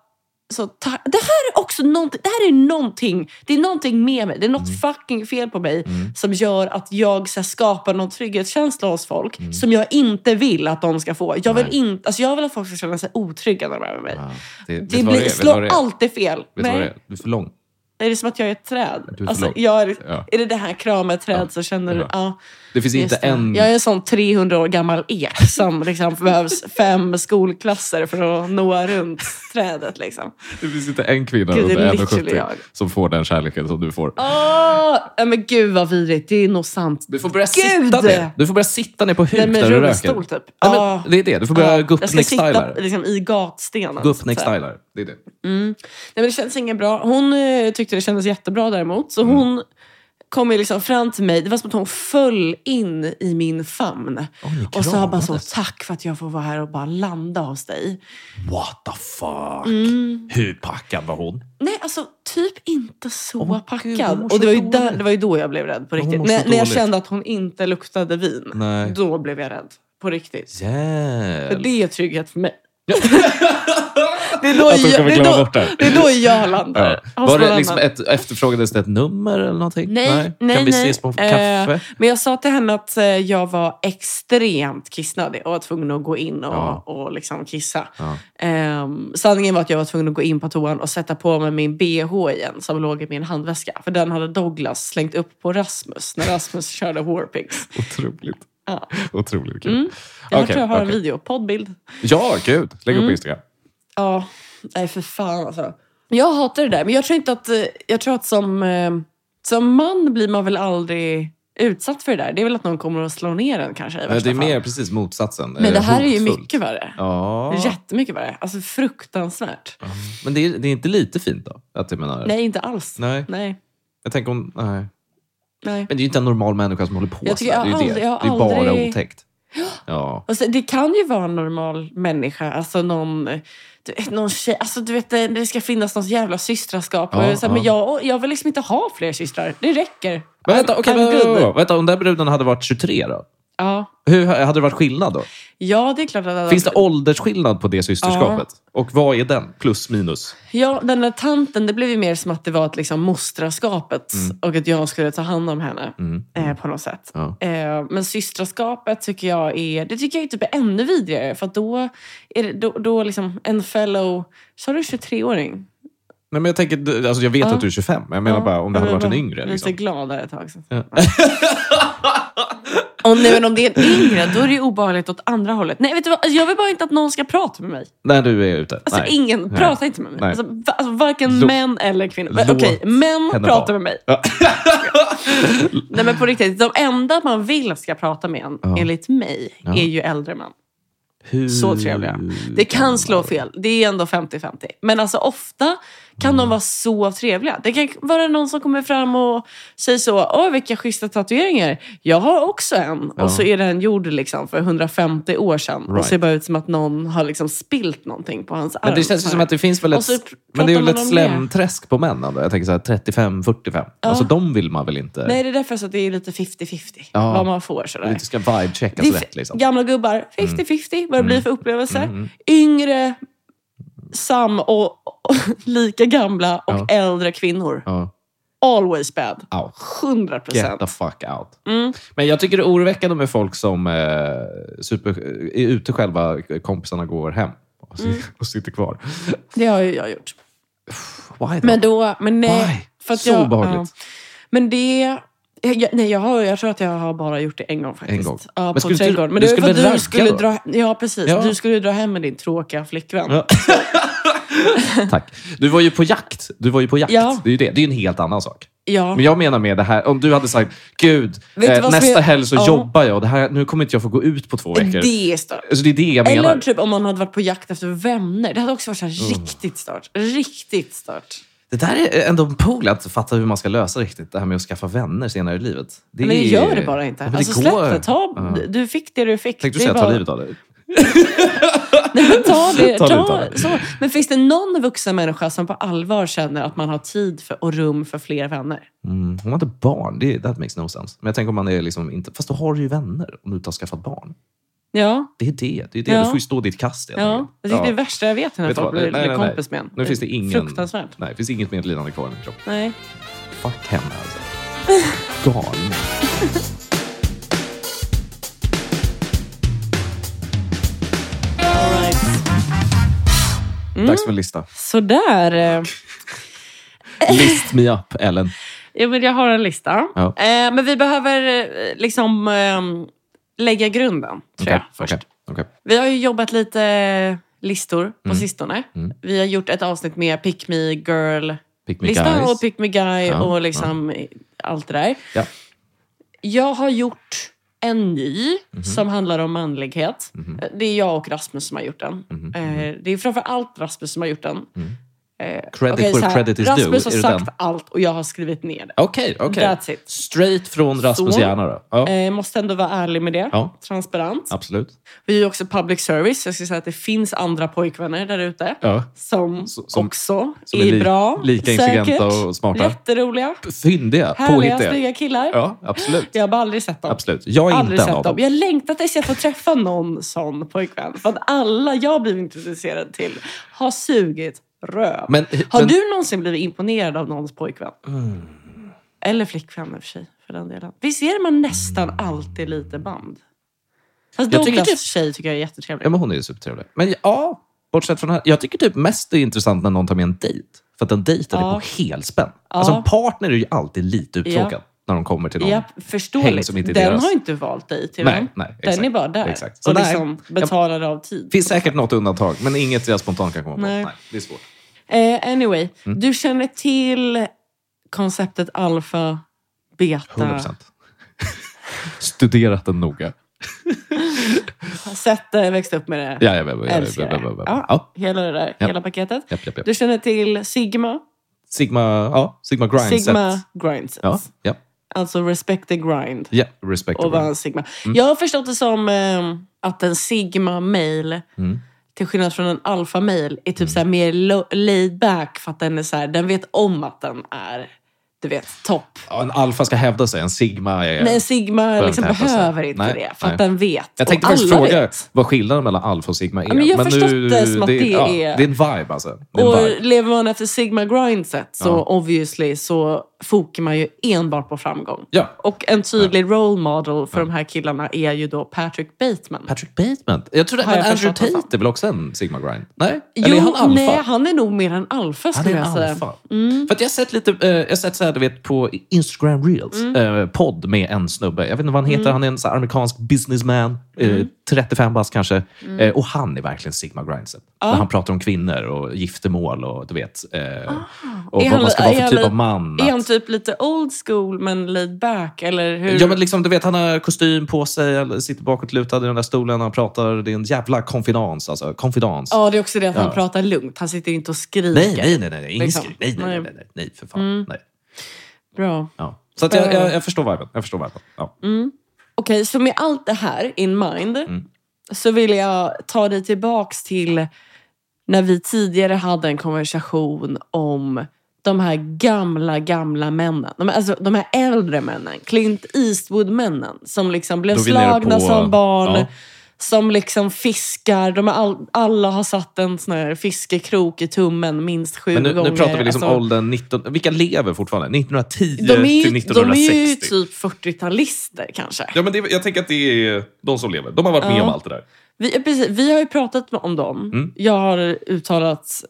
Speaker 2: så, ta, det här är också någonting, det här är någonting, det är någonting med mig. Det är något
Speaker 1: Mm.
Speaker 2: fucking fel på mig som gör att jag så här, skapar någon trygghetskänsla hos folk som jag inte vill att de ska få. Jag vill,
Speaker 1: Mm. Nej.
Speaker 2: inte, alltså jag vill att folk ska känna sig otrygga när de är med mig.
Speaker 1: Ja. Det, vet
Speaker 2: Det
Speaker 1: du vad det
Speaker 2: blir,
Speaker 1: är? Vet du
Speaker 2: slår
Speaker 1: vad det är?
Speaker 2: alltid fel.
Speaker 1: Vet du vad det
Speaker 2: Nej,
Speaker 1: är? Du är för lång.
Speaker 2: det är som att jag är ett träd.
Speaker 1: Du är för
Speaker 2: alltså,
Speaker 1: lång.
Speaker 2: jag är,
Speaker 1: Ja.
Speaker 2: är det det här krama ett träd så känner du...
Speaker 1: Ja.
Speaker 2: Ja.
Speaker 1: Det finns inte
Speaker 2: Just det.
Speaker 1: en...
Speaker 2: Jag är en sån 300 år gammal ek som liksom behövs fem skolklasser för att nå runt trädet. Liksom.
Speaker 1: Det finns inte en kvinna
Speaker 2: Gud, det är
Speaker 1: under
Speaker 2: literally
Speaker 1: 1,70
Speaker 2: jag.
Speaker 1: som får den kärleken som du får.
Speaker 2: Åh! Ah, ja, men gud vad vidrigt. Det är nog sant.
Speaker 1: Du får börja
Speaker 2: Gud!
Speaker 1: sitta ner. Du får börja sitta ner på huk
Speaker 2: Nej, men
Speaker 1: där du röker.
Speaker 2: rullstol, typ.
Speaker 1: Nej, men
Speaker 2: Ja.
Speaker 1: det är det. Du får börja
Speaker 2: Ja,
Speaker 1: gå upp
Speaker 2: jag ska sitta
Speaker 1: neck-stylar.
Speaker 2: liksom, i gatstenen.
Speaker 1: Gå upp
Speaker 2: så här.
Speaker 1: neck-stylar. Det är det.
Speaker 2: Nej, men det känns inget bra. Hon eh, tyckte det kändes jättebra däremot.
Speaker 1: Mm.
Speaker 2: Så hon kom ju liksom fram till mig. Det var som att hon föll in i min famn.
Speaker 1: Åh, ni
Speaker 2: och sa bara så,
Speaker 1: kramades.
Speaker 2: tack för att jag får vara här och bara landa hos dig.
Speaker 1: What the fuck?
Speaker 2: Mm.
Speaker 1: Hur packad var hon?
Speaker 2: Nej, alltså typ inte så
Speaker 1: gud, hon
Speaker 2: packad.
Speaker 1: mår så
Speaker 2: och det var, ju
Speaker 1: dåligt.
Speaker 2: där, det var ju då jag blev rädd på
Speaker 1: hon
Speaker 2: riktigt.
Speaker 1: mår så
Speaker 2: När, när jag
Speaker 1: dåligt.
Speaker 2: kände att hon inte luktade vin.
Speaker 1: Nej.
Speaker 2: Då blev jag rädd. På riktigt. För
Speaker 1: Jävlar.
Speaker 2: det är trygghet för mig. det, är då
Speaker 1: Att hon
Speaker 2: jag,
Speaker 1: kommer
Speaker 2: det, är
Speaker 1: glömma
Speaker 2: då,
Speaker 1: bort det här.
Speaker 2: det är då jag landar.
Speaker 1: Ja.
Speaker 2: Hos
Speaker 1: Var
Speaker 2: någon
Speaker 1: det
Speaker 2: annan.
Speaker 1: liksom ett, efterfrågades det ett nummer eller någonting?
Speaker 2: Nej, nej, nej.
Speaker 1: Kan vi ses på en
Speaker 2: Eh,
Speaker 1: kaffe?
Speaker 2: men jag sa till henne att eh, jag var extremt kissnödig och var tvungen att gå in och,
Speaker 1: Ja.
Speaker 2: och liksom kissa.
Speaker 1: Ja.
Speaker 2: Ehm, sanningen var att jag var tvungen att gå in på toan och sätta på mig min bh igen som låg i min handväska. För den hade Douglas slängt upp på Rasmus när Rasmus körde Warpix.
Speaker 1: Otroligt.
Speaker 2: Ja.
Speaker 1: Otroligt kul.
Speaker 2: Mm. Jag
Speaker 1: Okej,
Speaker 2: tror jag har
Speaker 1: okej.
Speaker 2: en video, poddbild.
Speaker 1: Ja, gud. Lägg
Speaker 2: Mm.
Speaker 1: upp på Instagram.
Speaker 2: Ja, nej för fan alltså. Jag hatar det där, men jag tror inte att... eh, Jag tror att som, eh, som man blir man väl aldrig utsatt för det där. Det är väl att någon kommer att slå ner en kanske i
Speaker 1: Eh,
Speaker 2: värsta
Speaker 1: Det är
Speaker 2: fall.
Speaker 1: mer precis motsatsen.
Speaker 2: Men
Speaker 1: Eh,
Speaker 2: det här är ju
Speaker 1: hotfullt.
Speaker 2: mycket värre.
Speaker 1: Ja.
Speaker 2: Jättemycket värre. Alltså fruktansvärt.
Speaker 1: Men det är, det är inte lite fint då? Att jag menar...
Speaker 2: Nej, inte alls.
Speaker 1: Nej.
Speaker 2: Nej.
Speaker 1: Jag tänker om... Nej.
Speaker 2: Nej.
Speaker 1: Men det är ju inte en normal människa som håller på
Speaker 2: Jag
Speaker 1: så
Speaker 2: tycker
Speaker 1: där. Det är ju
Speaker 2: jag
Speaker 1: det.
Speaker 2: aldrig- jag har
Speaker 1: det är bara
Speaker 2: aldrig-
Speaker 1: otäckt. Ja.
Speaker 2: Och så, det kan ju vara en normal människa. Alltså någon, du vet, någon tjej. Alltså du vet, det det ska finnas något jävla systraskap.
Speaker 1: Ja,
Speaker 2: och så, här, Men
Speaker 1: ja.
Speaker 2: jag, jag vill liksom inte ha fler systrar. Det räcker.
Speaker 1: Men vänta,
Speaker 2: I'm-
Speaker 1: okej,
Speaker 2: I'm
Speaker 1: men-
Speaker 2: good.
Speaker 1: vänta, om den bruden hade varit 23 då?
Speaker 2: Ja.
Speaker 1: Hur hade det varit skillnad då?
Speaker 2: ja, det är klart att...
Speaker 1: Finns det åldersskillnad på det systerskapet? Och vad är den? Plus minus?
Speaker 2: Ja, den där tanten, det blev ju mer som att det var ett liksom mostraskapet och att jag skulle ta hand om henne
Speaker 1: Mm.
Speaker 2: eh, på något sätt.
Speaker 1: Ja.
Speaker 2: Eh, men systraskapet tycker jag är, det tycker jag typ är ännu vidrigare. För att då är det, då, då liksom en fellow, sa du 23-åring?
Speaker 1: Nej, men jag, tänker, du- alltså jag vet
Speaker 2: Ja.
Speaker 1: att du är 25, men jag menar
Speaker 2: Ja, Mm.
Speaker 1: bara om det
Speaker 2: jag
Speaker 1: hade
Speaker 2: var
Speaker 1: varit en
Speaker 2: bara
Speaker 1: yngre.
Speaker 2: Lite
Speaker 1: Liksom.
Speaker 2: glad där ett tag sedan.
Speaker 1: Ja.
Speaker 2: Och nej, men om det är en yngre, då är det ju obehagligt åt andra hållet. Nej, vet du vad? Jag vill bara inte att någon ska prata med mig.
Speaker 1: När du är ute.
Speaker 2: Alltså
Speaker 1: Nej.
Speaker 2: ingen,
Speaker 1: Nej.
Speaker 2: prata inte med mig.
Speaker 1: Nej.
Speaker 2: Alltså, va- alltså, varken
Speaker 1: Låt-
Speaker 2: män eller kvinnor.
Speaker 1: låt
Speaker 2: Okej, män
Speaker 1: henne
Speaker 2: pratar
Speaker 1: vara.
Speaker 2: med mig.
Speaker 1: Ja.
Speaker 2: Nej men på riktigt, de enda man vill ska prata med en,
Speaker 1: Ja.
Speaker 2: enligt mig,
Speaker 1: Ja. Mm.
Speaker 2: är ju äldre män.
Speaker 1: Hur
Speaker 2: Så trevliga. Det kan
Speaker 1: gammal?
Speaker 2: slå fel. Det är ändå 50-50. Men alltså ofta kan
Speaker 1: Mm.
Speaker 2: de vara så trevliga. Det kan vara någon som kommer fram och säger så. Åh, vilka schyssta tatueringar. Jag har också en.
Speaker 1: Ja.
Speaker 2: Och så är den gjord liksom för 150 år sedan. Och
Speaker 1: Right.
Speaker 2: ser bara ut som att någon har liksom spilt någonting på hans arm.
Speaker 1: Men det känns
Speaker 2: Så
Speaker 1: ju som
Speaker 2: här.
Speaker 1: att det finns väl ett,
Speaker 2: Och så pr-
Speaker 1: men det är
Speaker 2: pratar
Speaker 1: väl
Speaker 2: man
Speaker 1: ett
Speaker 2: om det.
Speaker 1: slämträsk på män. Ändå. Jag tänker så här 35-45. Alltså de vill man väl inte...
Speaker 2: Nej, det är därför så att det är lite 50-50.
Speaker 1: Ja.
Speaker 2: Vad man får sådär.
Speaker 1: Du ska vibe-checkas
Speaker 2: Det är
Speaker 1: rätt. Liksom. Mm.
Speaker 2: Gamla gubbar, 50-50 vad det blir för upplevelse. Yngre, sam och, och lika gamla och
Speaker 1: Ja.
Speaker 2: äldre kvinnor.
Speaker 1: Ja.
Speaker 2: Always bad.
Speaker 1: Out.
Speaker 2: 100
Speaker 1: Get
Speaker 2: procent.
Speaker 1: the fuck out.
Speaker 2: Mm.
Speaker 1: Men jag tycker det är oroväckande med folk som eh, super, är ute själva, kompisarna går hem. och,
Speaker 2: Mm.
Speaker 1: och sitter kvar.
Speaker 2: Det har ju jag gjort.
Speaker 1: Why
Speaker 2: Men
Speaker 1: då?
Speaker 2: då, men nej.
Speaker 1: Why?
Speaker 2: För att
Speaker 1: Så
Speaker 2: jag,
Speaker 1: obehagligt.
Speaker 2: ja. Men det... Jag, jag- nej, jag, har, jag tror att jag har bara gjort det en gång faktiskt.
Speaker 1: En gång.
Speaker 2: Ja,
Speaker 1: Men
Speaker 2: på
Speaker 1: skulle inte-
Speaker 2: trädgården. Men
Speaker 1: du
Speaker 2: det var
Speaker 1: skulle
Speaker 2: för att
Speaker 1: ragga
Speaker 2: du skulle
Speaker 1: då?
Speaker 2: dra... Ja, precis.
Speaker 1: Ja.
Speaker 2: Du skulle ju dra hem med din tråkiga flickvän.
Speaker 1: Ja. Tack. Du var ju på jakt. Du var ju på jakt.
Speaker 2: Ja.
Speaker 1: Det är ju det. Det är ju en helt annan sak.
Speaker 2: Ja.
Speaker 1: Men jag menar med det här, om du hade sagt Gud,
Speaker 2: Vet du
Speaker 1: eh,
Speaker 2: vad som
Speaker 1: nästa
Speaker 2: är-
Speaker 1: helg så
Speaker 2: Ja.
Speaker 1: jobbar jag. Det här, nu kommer inte jag få gå ut på två veckor.
Speaker 2: Det är stört.
Speaker 1: Så det är det jag menar.
Speaker 2: Eller typ om man hade varit på jakt efter vänner. Det hade också varit så
Speaker 1: Mm.
Speaker 2: här riktigt stört. Riktigt stört.
Speaker 1: Det där är ändå en pool att fatta hur man ska lösa riktigt. Det här med att skaffa vänner senare i livet. Det
Speaker 2: Men
Speaker 1: är-
Speaker 2: gör det bara inte.
Speaker 1: Ja, men
Speaker 2: alltså,
Speaker 1: går.
Speaker 2: släpp det. Ta,
Speaker 1: Ja.
Speaker 2: Du fick det du fick.
Speaker 1: Tänkte
Speaker 2: Det
Speaker 1: du säga
Speaker 2: är
Speaker 1: ta
Speaker 2: bara-
Speaker 1: livet av dig?
Speaker 2: Nej, men ta det.
Speaker 1: Ta
Speaker 2: ta
Speaker 1: det, ta det.
Speaker 2: Så. Men finns det någon vuxen människa som på allvar känner att man har tid för, och rum för fler vänner?
Speaker 1: Mm, hon hade barn. Det, that makes no sense. Men jag tänker om man är liksom inte... Fast då har du ju vänner om du inte har skaffat barn.
Speaker 2: Ja.
Speaker 1: Det är det. Det, är det.
Speaker 2: Ja.
Speaker 1: Du får ju stå ditt kast. helt
Speaker 2: ja.
Speaker 1: enkelt.
Speaker 2: Jag tycker det är
Speaker 1: Ja.
Speaker 2: det värsta jag vet är när
Speaker 1: Vet du
Speaker 2: folk
Speaker 1: vad? Nej,
Speaker 2: blir,
Speaker 1: nej,
Speaker 2: blir
Speaker 1: nej.
Speaker 2: kompis med en.
Speaker 1: Nu finns det ingen...
Speaker 2: Fruktansvärt.
Speaker 1: Nej, det finns inget medlidande kvar i min kropp.
Speaker 2: Nej.
Speaker 1: Fuck henne alltså. Galen.
Speaker 2: All right. Mm.
Speaker 1: Dags för en lista.
Speaker 2: Sådär. eh.
Speaker 1: List me up, Ellen.
Speaker 2: Ja, men jag har en lista.
Speaker 1: Ja.
Speaker 2: Eh, men vi behöver eh, liksom eh, lägga grunden, tror
Speaker 1: Okej,
Speaker 2: jag. Först.
Speaker 1: okej, okej.
Speaker 2: Vi har ju jobbat lite listor på
Speaker 1: Mm.
Speaker 2: sistone.
Speaker 1: Mm.
Speaker 2: Vi har gjort ett avsnitt med Pick Me Girl
Speaker 1: Pick me
Speaker 2: lista
Speaker 1: guys.
Speaker 2: och Pick Me Guy
Speaker 1: Ja,
Speaker 2: och liksom allt det där.
Speaker 1: Ja.
Speaker 2: Jag har gjort en ny
Speaker 1: Mhm.
Speaker 2: som handlar om manlighet. Det är jag och Rasmus som har gjort den.
Speaker 1: Mhm,
Speaker 2: Eh, Det är framför allt Rasmus som har gjort den.
Speaker 1: Mm.
Speaker 2: Eh,
Speaker 1: Credit
Speaker 2: okej,
Speaker 1: where
Speaker 2: så här,
Speaker 1: credit is due.
Speaker 2: Rasmus
Speaker 1: Är
Speaker 2: har
Speaker 1: det
Speaker 2: sagt
Speaker 1: den?
Speaker 2: allt och jag har skrivit ner det.
Speaker 1: Okej, okej.
Speaker 2: That's it.
Speaker 1: Straight från Rasmus
Speaker 2: Så.
Speaker 1: hjärna då? Ja,
Speaker 2: Eh, måste ändå vara ärlig med det.
Speaker 1: Ja.
Speaker 2: Transparent.
Speaker 1: absolut.
Speaker 2: Vi är ju också public service. Jag ska säga att det finns andra pojkvänner där ute
Speaker 1: Ja.
Speaker 2: som,
Speaker 1: Så- som-
Speaker 2: också
Speaker 1: som
Speaker 2: är,
Speaker 1: är li-
Speaker 2: bra.
Speaker 1: lika
Speaker 2: säkert,
Speaker 1: intelligenta och smarta.
Speaker 2: Jätteroliga.
Speaker 1: Fyndiga,
Speaker 2: Härliga,
Speaker 1: påhittiga.
Speaker 2: snygga killar.
Speaker 1: Ja, absolut.
Speaker 2: Jag har bara aldrig sett dem.
Speaker 1: Absolut. Jag är
Speaker 2: Aldrig
Speaker 1: inte en
Speaker 2: sett
Speaker 1: av
Speaker 2: dem.
Speaker 1: dem.
Speaker 2: Jag längtar tills jag får träffa någon sån pojkvän. För att alla jag blivit introducerad till har sugit röv.
Speaker 1: Men,
Speaker 2: har
Speaker 1: men, Mm.
Speaker 2: du någonsin blivit imponerad av någons pojkvän? Eller flickvän i och för sig. För den delen. Visst är man nästan alltid lite band? Fast
Speaker 1: Mm. Jag tycker typ-
Speaker 2: Douglas
Speaker 1: det-
Speaker 2: tjej tycker jag är jättetrevlig.
Speaker 1: ja, men hon är ju supertrevlig. Men ja, bortsett från det här. Jag tycker typ mest det är intressant när någon tar med en dejt. För att en dejt är det
Speaker 2: Ja.
Speaker 1: på helspänn.
Speaker 2: Ja.
Speaker 1: Alltså en partner är ju alltid lite uttråkad när de kommer till någon.
Speaker 2: Ja,
Speaker 1: häng
Speaker 2: förståeligt.
Speaker 1: som inte är
Speaker 2: den
Speaker 1: deras.
Speaker 2: har inte valt dig till
Speaker 1: Nej,
Speaker 2: vän.
Speaker 1: nej,
Speaker 2: Den
Speaker 1: exakt.
Speaker 2: är bara där.
Speaker 1: Exakt. Så
Speaker 2: Och
Speaker 1: nej,
Speaker 2: liksom betalar av tid.
Speaker 1: Det finns säkert något undantag, men inget jag spontant kan komma på. Nej.
Speaker 2: Nej.
Speaker 1: det är svårt.
Speaker 2: Eh, anyway,
Speaker 1: Mm.
Speaker 2: du känner till konceptet alfa, beta,
Speaker 1: 100%. Studerat den noga.
Speaker 2: sett det, eh, växt upp med det,
Speaker 1: Ja, ja, ja, ja, ja,
Speaker 2: älskar
Speaker 1: ja,
Speaker 2: det.
Speaker 1: ja, ja.
Speaker 2: Ja,
Speaker 1: ja.
Speaker 2: hela det där,
Speaker 1: Ja.
Speaker 2: hela paketet.
Speaker 1: Japp, japp, japp.
Speaker 2: Du känner till sigma,
Speaker 1: Sigma, ja, Sigma Grindset.
Speaker 2: sigma grindset.
Speaker 1: Ja, ja,
Speaker 2: Alltså respect the grind.
Speaker 1: ja. Respect
Speaker 2: Och
Speaker 1: the
Speaker 2: vara
Speaker 1: grind.
Speaker 2: en sigma.
Speaker 1: Mm.
Speaker 2: Jag har förstått det som eh, att en sigma-mail
Speaker 1: Mm.
Speaker 2: till skillnad från en alfa-mail är typ så här mer lo- laid back för att den är så här, den vet om att den är du vet, topp.
Speaker 1: Ja, en alfa ska hävda sig, en sigma är...
Speaker 2: Men en sigma
Speaker 1: inte
Speaker 2: liksom
Speaker 1: hävda sig.
Speaker 2: behöver inte
Speaker 1: Nej,
Speaker 2: det för att
Speaker 1: nej.
Speaker 2: den vet.
Speaker 1: jag tänkte
Speaker 2: och
Speaker 1: faktiskt
Speaker 2: alla
Speaker 1: fråga
Speaker 2: vet.
Speaker 1: vad skillnaden mellan alfa och sigma är.
Speaker 2: men jag har förstått det som att det
Speaker 1: ja,
Speaker 2: är-
Speaker 1: Det är en vibe alltså. Det är en
Speaker 2: Och
Speaker 1: vibe.
Speaker 2: lever man efter sigma grindset så
Speaker 1: Ja.
Speaker 2: obviously så fokar man ju enbart på framgång.
Speaker 1: Ja.
Speaker 2: Och en tydlig role model för de här killarna är ju då Patrick Bateman.
Speaker 1: Patrick Bateman? Jag trodde,
Speaker 2: Har
Speaker 1: men
Speaker 2: jag
Speaker 1: Andrew
Speaker 2: förstått
Speaker 1: Tate
Speaker 2: alltså.
Speaker 1: är väl också en sigma grind? Nej? Eller är han alfa?
Speaker 2: nej, han är nog mer en alfa
Speaker 1: Han är
Speaker 2: skulle
Speaker 1: en
Speaker 2: jag Mm. säga.
Speaker 1: alfa. För att jag har sett lite, eh, jag har sett så här, du vet, på Instagram Reels,
Speaker 2: Mm.
Speaker 1: eh, podd med en snubbe. Jag vet inte vad han heter. Han är en så här amerikansk businessman, eh,
Speaker 2: Mm.
Speaker 1: 35 bast kanske. Eh, och han är verkligen Sigma Grindset.
Speaker 2: Ah.
Speaker 1: När han pratar om kvinnor och giftermål och du vet. Eh, och
Speaker 2: Är
Speaker 1: vad
Speaker 2: han-
Speaker 1: man ska vara
Speaker 2: är
Speaker 1: för
Speaker 2: han
Speaker 1: typ
Speaker 2: li-
Speaker 1: av man.
Speaker 2: Är
Speaker 1: att-
Speaker 2: han typ lite old school men laid back? Eller hur?
Speaker 1: Ja, men liksom, du vet, han har kostym på sig, eller sitter bakåtlutad i den där stolen och han pratar. Det är en jävla konfidens. Alltså, konfidens.
Speaker 2: Ja, det är också det att
Speaker 1: Ja.
Speaker 2: han pratar lugnt. Han sitter inte och skriker.
Speaker 1: nej, nej, nej, nej, nej, ingen
Speaker 2: Liksom. Mm.
Speaker 1: skrik. nej, nej, nej, nej, nej, nej, för fan. Nej.
Speaker 2: Bra.
Speaker 1: Ja. Så att jag, jag, jag förstår viben. Jag förstår viben. Ja.
Speaker 2: Mm, Okej, så med allt det här in mind
Speaker 1: Mm.
Speaker 2: så vill jag ta dig tillbaks till när vi tidigare hade en konversation om de här gamla, gamla männen. De, alltså, de här äldre männen. Clint Eastwood-männen som liksom blev
Speaker 1: Då vi är nere
Speaker 2: slagna
Speaker 1: på-
Speaker 2: som barn.
Speaker 1: ja.
Speaker 2: Som liksom fiskar. De har all, alla har satt en sån här fiskekrok i tummen minst sju
Speaker 1: Men nu,
Speaker 2: gånger.
Speaker 1: nu pratar vi liksom
Speaker 2: Alltså-
Speaker 1: åldern 19... Vilka lever fortfarande? 1910
Speaker 2: De är,
Speaker 1: till
Speaker 2: ju, de är
Speaker 1: 1960?
Speaker 2: ju typ 40-talister kanske.
Speaker 1: Ja, men det, jag tänker att det är de som lever. De har varit med
Speaker 2: Ja.
Speaker 1: om allt det där.
Speaker 2: Vi, precis, vi har ju pratat om dem.
Speaker 1: Mm.
Speaker 2: Jag har uttalat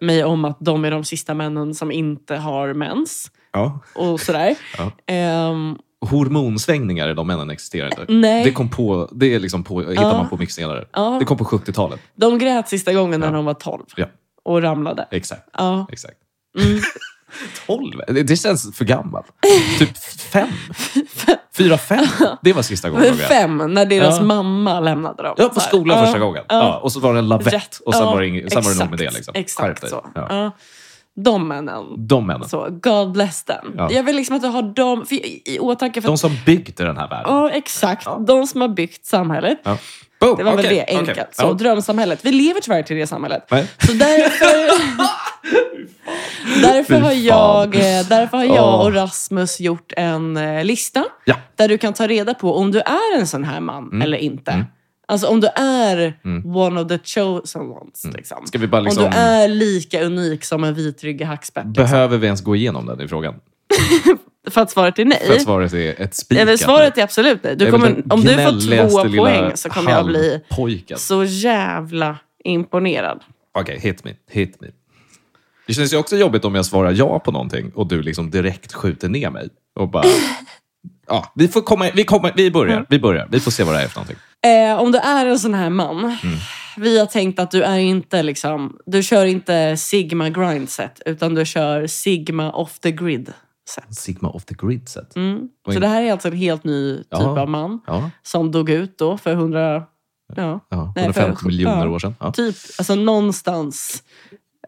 Speaker 2: mig om att de är de sista männen som inte har mens.
Speaker 1: Ja.
Speaker 2: Och sådär.
Speaker 1: Ja.
Speaker 2: Ehm,
Speaker 1: Hormonsvängningar i de männen existerar inte.
Speaker 2: nej,
Speaker 1: Det, kom på, det är liksom på, hittar
Speaker 2: Ja.
Speaker 1: man på mycket senare.
Speaker 2: ja,
Speaker 1: Det kom på 70-talet.
Speaker 2: de grät sista gången när
Speaker 1: Ja.
Speaker 2: de var 12
Speaker 1: Ja.
Speaker 2: och ramlade.
Speaker 1: Exakt.
Speaker 2: Ja.
Speaker 1: exakt.
Speaker 2: Mm.
Speaker 1: 12? Det det känns för gammalt. Typ fem? Fyra, fem? Det var sista gången de grät.
Speaker 2: Fem, när deras
Speaker 1: Ja.
Speaker 2: mamma lämnade dem.
Speaker 1: Ja, på
Speaker 2: Så här.
Speaker 1: skolan
Speaker 2: Ja.
Speaker 1: första gången.
Speaker 2: Ja.
Speaker 1: Ja. Och så var det en lavett
Speaker 2: Rätt.
Speaker 1: och sen,
Speaker 2: Ja,
Speaker 1: var, det ing- sen var det nog med det.
Speaker 2: exakt.
Speaker 1: Liksom. Skärp
Speaker 2: Exakt
Speaker 1: dig.
Speaker 2: så. Ja.
Speaker 1: Ja.
Speaker 2: De männen.
Speaker 1: De männen.
Speaker 2: Så, God bless them.
Speaker 1: Ja.
Speaker 2: Jag vill liksom att du har dem för, i, i åtanke. För
Speaker 1: De som byggde den här världen.
Speaker 2: Ja, exakt. De som har byggt samhället.
Speaker 1: Ja. Boom!
Speaker 2: Det var väl
Speaker 1: Okej,
Speaker 2: det, enkelt.
Speaker 1: okej.
Speaker 2: Så,
Speaker 1: Ja.
Speaker 2: Drömsamhället. Vi lever tyvärr till det samhället.
Speaker 1: Nej.
Speaker 2: Så därför... därför,
Speaker 1: Fy
Speaker 2: har
Speaker 1: fan.
Speaker 2: jag, eh, därför har jag
Speaker 1: Åh.
Speaker 2: och Rasmus gjort en eh, lista
Speaker 1: Ja.
Speaker 2: där du kan ta reda på om du är en sån här man eller inte.
Speaker 1: Mm.
Speaker 2: Alltså om du är
Speaker 1: Mm.
Speaker 2: one of the chosen ones. Liksom.
Speaker 1: Ska vi bara liksom...
Speaker 2: Om du är lika unik som en vitryggig hackspett.
Speaker 1: Behöver vi ens gå igenom den i frågan?
Speaker 2: För att svaret är nej.
Speaker 1: För att svaret är ett spikat.
Speaker 2: Nej, Eh. men svaret är absolut nej. Du
Speaker 1: Jag är väl
Speaker 2: kommer,
Speaker 1: den
Speaker 2: om du får
Speaker 1: gnälligaste
Speaker 2: två
Speaker 1: lilla
Speaker 2: poäng så kommer jag bli
Speaker 1: halvpojken.
Speaker 2: så jävla imponerad.
Speaker 1: Okej, hit me. Hit me. Det känns ju också jobbigt om jag svarar ja på någonting och du liksom direkt skjuter ner mig. Och bara... Ja, vi får komma... Vi, kommer, vi börjar. Vi börjar. Vi får se vad det här är för någonting.
Speaker 2: Eh, om du är en sån här man.
Speaker 1: Mm.
Speaker 2: Vi har tänkt att du är inte liksom, du kör inte Sigma grindset utan du kör Sigma off the grid set.
Speaker 1: Sigma off the grid set.
Speaker 2: Mm.
Speaker 1: Vad
Speaker 2: Så
Speaker 1: in-
Speaker 2: det här är alltså en helt ny typ
Speaker 1: Jaha.
Speaker 2: av man
Speaker 1: Ja,
Speaker 2: som dog ut då för 100, ja,
Speaker 1: ja.
Speaker 2: Nej, för-
Speaker 1: 150 miljoner
Speaker 2: ja.
Speaker 1: år sedan. Ja.
Speaker 2: typ, alltså någonstans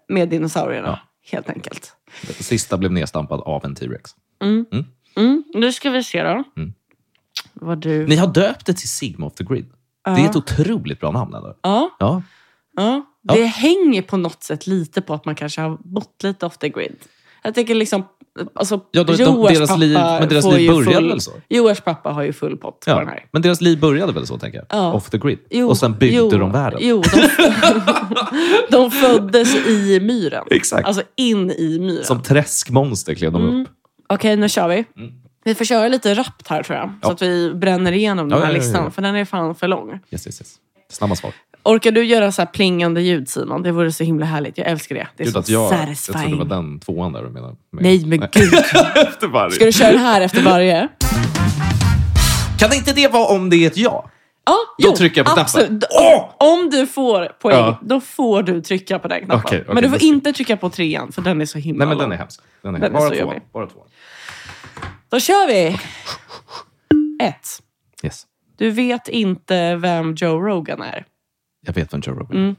Speaker 2: med dinosaurierna helt enkelt.
Speaker 1: Sista blev nedstampad av en T-rex.
Speaker 2: Mm. Mm.
Speaker 1: Mm.
Speaker 2: Nu ska vi se då.
Speaker 1: Mm.
Speaker 2: Vad du...
Speaker 1: Ni har döpt det till Sigma off the grid.
Speaker 2: ja.
Speaker 1: Det är ett otroligt bra namn. Ändå.
Speaker 2: ja,
Speaker 1: Ja.
Speaker 2: ja.
Speaker 1: Ja.
Speaker 2: Det hänger på något sätt lite på att man kanske har bott lite off the grid. Jag tänker liksom... Alltså,
Speaker 1: Ja, de, de,
Speaker 2: Joars
Speaker 1: deras
Speaker 2: pappa
Speaker 1: liv, men deras
Speaker 2: får
Speaker 1: liv
Speaker 2: ju
Speaker 1: började
Speaker 2: full,
Speaker 1: väl så?
Speaker 2: Joars pappa har ju full pott på den
Speaker 1: Ja.
Speaker 2: här.
Speaker 1: Men deras liv började väl så, tänker jag?
Speaker 2: Ja.
Speaker 1: Off the grid.
Speaker 2: Jo,
Speaker 1: Och sen byggde
Speaker 2: jo,
Speaker 1: de världen.
Speaker 2: Jo, de, de föddes i myren.
Speaker 1: Exakt.
Speaker 2: Alltså in i myren.
Speaker 1: Som träskmonster klev de
Speaker 2: Mm.
Speaker 1: upp.
Speaker 2: Okej, nu kör vi.
Speaker 1: Mm.
Speaker 2: Vi får köra lite rappt här tror jag. Så
Speaker 1: Ja.
Speaker 2: att vi bränner igenom den
Speaker 1: Ja,
Speaker 2: här
Speaker 1: ja, ja, ja.
Speaker 2: listan. För den är fan för lång.
Speaker 1: Yes, yes, yes. Snabba svar.
Speaker 2: Orkar du göra så här plingande ljud Simon? Det vore så himla härligt. Jag älskar det. Det är
Speaker 1: Gud,
Speaker 2: så
Speaker 1: att jag, jag
Speaker 2: satisfying.
Speaker 1: trodde det var den tvåan där du menade. Men-
Speaker 2: Nej men gud.
Speaker 1: Efter varje.
Speaker 2: Ska du köra det här efter varje?
Speaker 1: Kan inte det vara om det är ett ja?
Speaker 2: Ja,
Speaker 1: Då trycker jag på knappen.
Speaker 2: absolut. D-
Speaker 1: Åh!
Speaker 2: Om du får poäng,
Speaker 1: Ja.
Speaker 2: då får du trycka på den knappen.
Speaker 1: Okej, okej,
Speaker 2: men du får
Speaker 1: då ska-
Speaker 2: inte trycka på trean, för den är så himla
Speaker 1: Nej, men
Speaker 2: lång.
Speaker 1: den är hemsk. Den är
Speaker 2: Den
Speaker 1: hemsk.
Speaker 2: är så
Speaker 1: Bara tvåan.
Speaker 2: jobbig.
Speaker 1: Bara tvåan.
Speaker 2: Då kör vi! Ett.
Speaker 1: Yes.
Speaker 2: Du vet inte vem Joe Rogan är.
Speaker 1: Jag vet vem Joe Rogan är.
Speaker 2: Mm.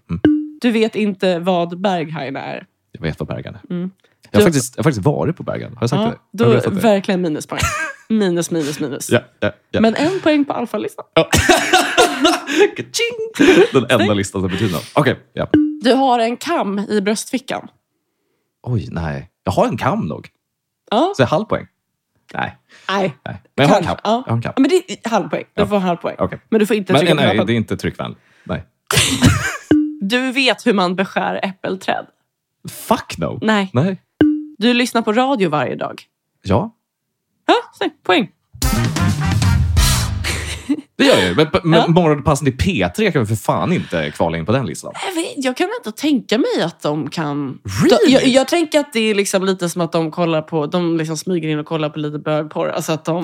Speaker 2: Du vet inte vad Berghain är.
Speaker 1: Jag vet vad Bergan är.
Speaker 2: Mm.
Speaker 1: Jag, har
Speaker 2: Du-
Speaker 1: faktiskt, jag har faktiskt varit på Bergan. Har jag sagt
Speaker 2: Ja,
Speaker 1: det?
Speaker 2: då
Speaker 1: Har jag berättat det?
Speaker 2: verkligen minuspoäng. Minus, minus, minus.
Speaker 1: Ja, ja, ja.
Speaker 2: Men en poäng på alfalistan.
Speaker 1: Ka-ching! Den enda listan som betyder något. Okej. ja.
Speaker 2: Du har en kam i bröstfickan.
Speaker 1: Oj, nej. Jag har en kam nog.
Speaker 2: Ja.
Speaker 1: Så jag har halv poäng? Nej.
Speaker 2: Nej.
Speaker 1: nej. Men jag har en kam.
Speaker 2: Kanske, ja.
Speaker 1: Jag har en kam.
Speaker 2: Ja, Men det är halv poäng. Du
Speaker 1: Ja.
Speaker 2: får halv poäng.
Speaker 1: Okej.
Speaker 2: Men du får inte trycka
Speaker 1: Men
Speaker 2: på
Speaker 1: nej,
Speaker 2: knappen.
Speaker 1: det är inte tryckvänligt. Nej.
Speaker 2: Du vet hur man beskär äppelträd.
Speaker 1: Fuck no.
Speaker 2: Nej.
Speaker 1: Nej.
Speaker 2: Du lyssnar på radio varje dag.
Speaker 1: Ja,
Speaker 2: Ja, snyggt. Poäng.
Speaker 1: det gör jag ju. Men, men
Speaker 2: Ja.
Speaker 1: morgonpassen till P3 kan vi för fan inte kvala in på den listan.
Speaker 2: Jag, vet, jag kan ändå tänka mig att de kan...
Speaker 1: Really?
Speaker 2: De, jag, jag tänker att det är liksom lite som att de kollar på... De liksom smyger in och kollar på lite bögporr. Alltså att de...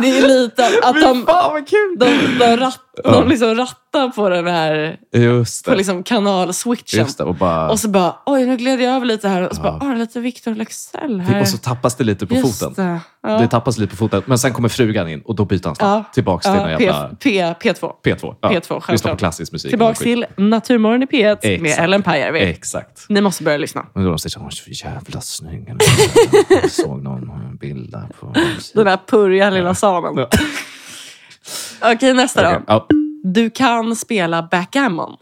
Speaker 2: det är lite att de...
Speaker 1: fan vad kul!
Speaker 2: De, de, ratt,
Speaker 1: Ja.
Speaker 2: de liksom rattar på den här
Speaker 1: Just
Speaker 2: på
Speaker 1: det.
Speaker 2: liksom kanalswitchen.
Speaker 1: Just det. Och, bara,
Speaker 2: Och så bara, oj nu gled jag över lite här. Och så
Speaker 1: Ja.
Speaker 2: bara, ah, lite Victor Leksell här.
Speaker 1: och så tappas det lite på
Speaker 2: Just
Speaker 1: foten.
Speaker 2: Det. Ja.
Speaker 1: Det tappas lite på foten. Men sen kommer frugan in och då byter han snabbt.
Speaker 2: Ja.
Speaker 1: Tillbaks till
Speaker 2: ja,
Speaker 1: den
Speaker 2: P,
Speaker 1: jävla
Speaker 2: P, P2.
Speaker 1: P2. Ja.
Speaker 2: P2,
Speaker 1: Lyssna på
Speaker 2: självklart.
Speaker 1: klassisk musik.
Speaker 2: Tillbaks till Naturmorgon i P1 med
Speaker 1: Exakt.
Speaker 2: Ellen Pajärvi.
Speaker 1: Exakt.
Speaker 2: Ni måste börja lyssna.
Speaker 1: Men då de säger de så jävla snygg. den där." Jag såg någon bild där på...
Speaker 2: Den där purja lilla samen.
Speaker 1: Ja.
Speaker 2: Okej, nästa
Speaker 1: Okej,
Speaker 2: då.
Speaker 1: ja.
Speaker 2: Du kan spela backgammon.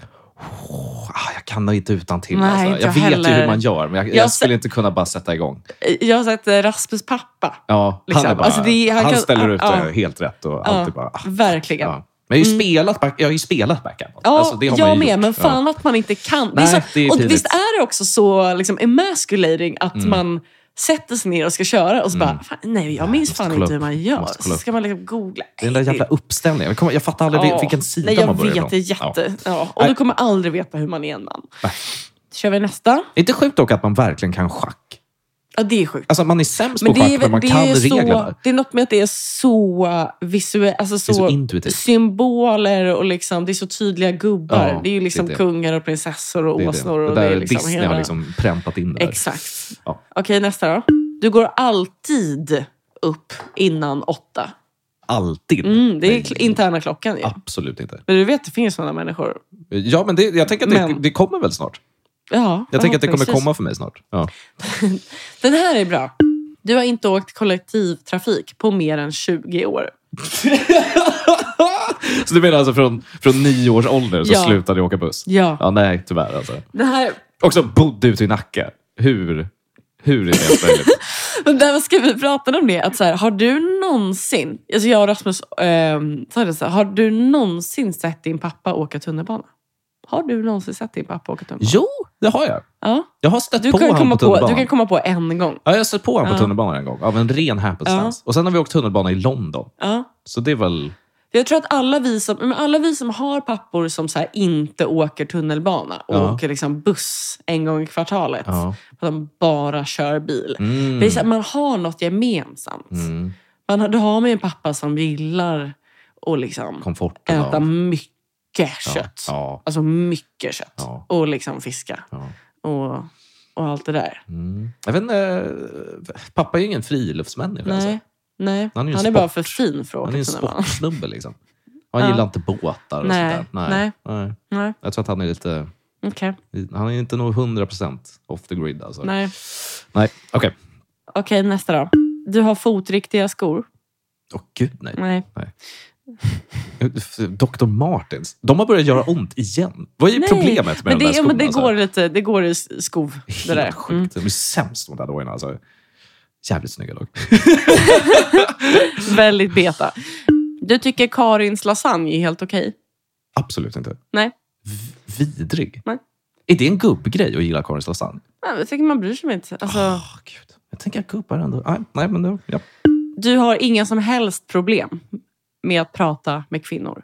Speaker 1: Ah, jag kan nog inte utan till.
Speaker 2: Nej,
Speaker 1: alltså.
Speaker 2: inte
Speaker 1: Jag,
Speaker 2: jag
Speaker 1: vet ju
Speaker 2: heller.
Speaker 1: hur man gör, men jag, jag,
Speaker 2: Jag se-
Speaker 1: skulle inte kunna bara sätta igång.
Speaker 2: Jag har sett eh, Rasmus pappa.
Speaker 1: Ja,
Speaker 2: Liksom.
Speaker 1: Han, är bara,
Speaker 2: Alltså, det är- han
Speaker 1: han,
Speaker 2: kan-
Speaker 1: ställer ut
Speaker 2: ja.
Speaker 1: det helt rätt och allt är bara... ah,
Speaker 2: Verkligen. Mm.
Speaker 1: Ja. Men jag har ju spelat, back, jag har ju spelat backup.
Speaker 2: Ja,
Speaker 1: Alltså, det har man
Speaker 2: jag
Speaker 1: ju
Speaker 2: med.
Speaker 1: gjort.
Speaker 2: Men fan att man inte kan.
Speaker 1: Nej,
Speaker 2: det är så,
Speaker 1: det är Mm.
Speaker 2: och
Speaker 1: pinligt.
Speaker 2: visst är det också så liksom, emasculating att man sätter sig ner och ska köra och så bara, fan, nej jag minns
Speaker 1: Mm. måste
Speaker 2: fan
Speaker 1: kolla
Speaker 2: inte hur
Speaker 1: upp.
Speaker 2: man gör.
Speaker 1: Måste kolla
Speaker 2: Så ska man liksom googla.
Speaker 1: Den där jävla uppställningen. Jag kommer- Jag fattar aldrig
Speaker 2: Ja.
Speaker 1: vilken sida
Speaker 2: nej, jag
Speaker 1: man börjar
Speaker 2: vet,
Speaker 1: ifrån.
Speaker 2: det är jätte... Ja. Och
Speaker 1: Nej.
Speaker 2: du kommer aldrig veta hur man är en man.
Speaker 1: Nej.
Speaker 2: Kör vi nästa?
Speaker 1: Inte sjukt dock att man verkligen kan schack.
Speaker 2: Ja, det är sjukt.
Speaker 1: Alltså man är sämst
Speaker 2: Men
Speaker 1: på
Speaker 2: det
Speaker 1: schack,
Speaker 2: är,
Speaker 1: men man
Speaker 2: det,
Speaker 1: kan
Speaker 2: är så,
Speaker 1: reglerna.
Speaker 2: det är något med att det är så visuellt, alltså
Speaker 1: Det är så
Speaker 2: så,
Speaker 1: intuitivt.
Speaker 2: symboler och liksom, det är så tydliga gubbar.
Speaker 1: Ja,
Speaker 2: det är ju
Speaker 1: det är
Speaker 2: liksom
Speaker 1: det.
Speaker 2: kungar och prinsessor och
Speaker 1: Det, är
Speaker 2: åsnor.
Speaker 1: det.
Speaker 2: Och
Speaker 1: det där
Speaker 2: det är liksom
Speaker 1: Disney
Speaker 2: hela...
Speaker 1: har liksom präntat in det där.
Speaker 2: Exakt.
Speaker 1: Ja.
Speaker 2: Okej, nästa då. Du går alltid upp innan åtta.
Speaker 1: Alltid.
Speaker 2: Mm, det är
Speaker 1: Nej,
Speaker 2: kl- interna klockan ju.
Speaker 1: Absolut inte.
Speaker 2: Men du vet, det finns sådana människor.
Speaker 1: Ja, men det, jag tänker att det,
Speaker 2: Men-
Speaker 1: det kommer väl snart.
Speaker 2: Ja,
Speaker 1: Jag tänker att det kommer
Speaker 2: förhoppningsvis.
Speaker 1: komma för mig snart. Ja.
Speaker 2: Den här är bra. Du har inte åkt kollektivtrafik på mer än 20 år.
Speaker 1: så du menar alltså från, från nio års ålder så
Speaker 2: Ja.
Speaker 1: slutade jag åka buss?
Speaker 2: Ja.
Speaker 1: Ja, nej, tyvärr alltså.
Speaker 2: Det här,
Speaker 1: Också bodde ute i Nacka. Hur? Hur är det ens möjligt?
Speaker 2: men där ska vi prata om det. Att så här, har du någonsin, alltså jag och Rasmus eh, sa det så här, har du någonsin sett din pappa åka tunnelbana? Har du någonsin sett din pappa åka tunnelbana?
Speaker 1: jo, det har jag.
Speaker 2: Ja.
Speaker 1: Jag har stött
Speaker 2: Du,
Speaker 1: på
Speaker 2: kan
Speaker 1: honom
Speaker 2: komma
Speaker 1: på
Speaker 2: på,
Speaker 1: tunnelbanan.
Speaker 2: du kan komma på en gång.
Speaker 1: Ja, jag har stött på honom
Speaker 2: Ja.
Speaker 1: på tunnelbanan en gång av en ren happenstans. Och sen har vi åkt tunnelbana i London.
Speaker 2: Ja.
Speaker 1: Så det är väl...
Speaker 2: För Jag tror att alla vi som, men alla vi som har pappor som så här inte åker tunnelbana och
Speaker 1: Ja.
Speaker 2: åker liksom buss en gång i kvartalet.
Speaker 1: Ja.
Speaker 2: Att de bara kör bil.
Speaker 1: Mm.
Speaker 2: Det är så här, man har något gemensamt.
Speaker 1: Mm.
Speaker 2: Man har, du har med en pappa som gillar att liksom
Speaker 1: Komforten
Speaker 2: äta
Speaker 1: av-
Speaker 2: mycket
Speaker 1: Ja.
Speaker 2: kött.
Speaker 1: Ja.
Speaker 2: Alltså mycket kött.
Speaker 1: Ja.
Speaker 2: Och liksom fiska
Speaker 1: ja.
Speaker 2: och, och allt det där.
Speaker 1: Mm. Jag vet inte, eh, pappa är ju ingen friluftsmänniska. Alltså.
Speaker 2: Nej, nej.
Speaker 1: Han
Speaker 2: Han
Speaker 1: är
Speaker 2: är,
Speaker 1: ju en
Speaker 2: bara
Speaker 1: sport.
Speaker 2: för fin för att
Speaker 1: Han är
Speaker 2: åka
Speaker 1: ju en
Speaker 2: tunnelbana.
Speaker 1: sportsnubbe. Liksom. Han
Speaker 2: Ja.
Speaker 1: gillar inte båtar och
Speaker 2: Nej,
Speaker 1: sånt där.
Speaker 2: nej.
Speaker 1: Nej.
Speaker 2: Nej,
Speaker 1: Jag tror att han är lite...
Speaker 2: okej.
Speaker 1: Han är inte nog 100% off the grid. Alltså.
Speaker 2: Nej.
Speaker 1: Nej, okej. Okay.
Speaker 2: Okej, nästa då. Du har fotriktiga skor?
Speaker 1: gud, nej.
Speaker 2: Nej.
Speaker 1: Dr. Martens. De har börjat göra ont igen. Vad är
Speaker 2: Nej,
Speaker 1: problemet med
Speaker 2: men
Speaker 1: de där
Speaker 2: det, ja,
Speaker 1: skorna?
Speaker 2: men det,
Speaker 1: alltså?
Speaker 2: går lite, det går i s- skov. Det
Speaker 1: Helt
Speaker 2: där.
Speaker 1: sjukt.
Speaker 2: Mm.
Speaker 1: De är sämst de där dojorna. Alltså. Jävligt snygga dock.
Speaker 2: Väldigt beta. Du tycker Karins lasagne är helt okej?
Speaker 1: Absolut inte.
Speaker 2: Nej.
Speaker 1: V- vidrig.
Speaker 2: Nej.
Speaker 1: Är det en gubbgrej att gilla Karins lasagne?
Speaker 2: Nej, Jag tycker man bryr sig inte. Alltså,
Speaker 1: Åh, Gud. Jag tänker att gubbar ändå... Nej, nej men då, ja.
Speaker 2: Du har inga som helst problem med att prata med kvinnor.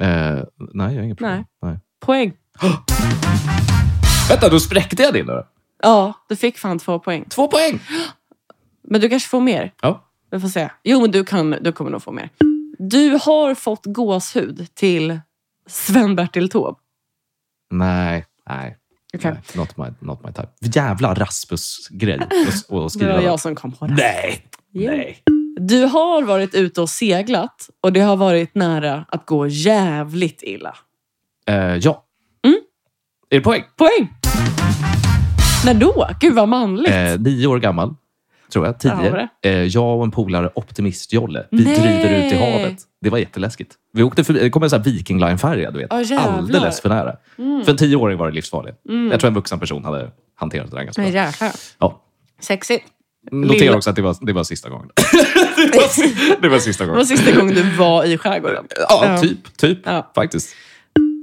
Speaker 1: eh, nej, jag har inget problem.
Speaker 2: Nej.
Speaker 1: Nej.
Speaker 2: Poäng.
Speaker 1: Vänta, då spräckte jag din då.
Speaker 2: Ja, du fick fan två poäng.
Speaker 1: Två poäng!
Speaker 2: Men du kanske får mer.
Speaker 1: Ja.
Speaker 2: Vi får se. Jo, men du, kan, du kommer nog få mer. Du har fått gåshud till Sven-Bertil Taube.
Speaker 1: Nej, nej.
Speaker 2: Okej.
Speaker 1: nej not, my, not my type. Jävla Rasmus-grej att- att
Speaker 2: Det
Speaker 1: skriva.
Speaker 2: var jag som kom på det.
Speaker 1: Nej,
Speaker 2: Jo.
Speaker 1: nej.
Speaker 2: Du har varit ute och seglat och det har varit nära att gå jävligt illa.
Speaker 1: Eh, ja.
Speaker 2: Mm.
Speaker 1: Är det poäng?
Speaker 2: Poäng! När då? Gud vad manligt.
Speaker 1: Eh, nio år gammal, tror jag.
Speaker 2: Ja, var
Speaker 1: Tio. Eh, jag och en polare, Optimistjolle, vi
Speaker 2: Nej.
Speaker 1: driver ut i havet. Det var jätteläskigt. Vi åkte förbi, det kom en sån här Viking Line-färja, du vet.
Speaker 2: Ja, jävlar.
Speaker 1: Alldeles för nära.
Speaker 2: Mm.
Speaker 1: För en tioåring var det livsfarligt.
Speaker 2: Mm.
Speaker 1: Jag tror en vuxen person hade hanterat det där ganska
Speaker 2: Men
Speaker 1: bra.
Speaker 2: jäklar.
Speaker 1: Ja.
Speaker 2: Sexigt.
Speaker 1: Notera
Speaker 2: Lilla-
Speaker 1: också att det var, det var sista gången. det, var, si- det var sista
Speaker 2: Det var
Speaker 1: gången.
Speaker 2: sista gången du var i skärgården.
Speaker 1: Ja, typ. Typ,
Speaker 2: Ja.
Speaker 1: faktiskt.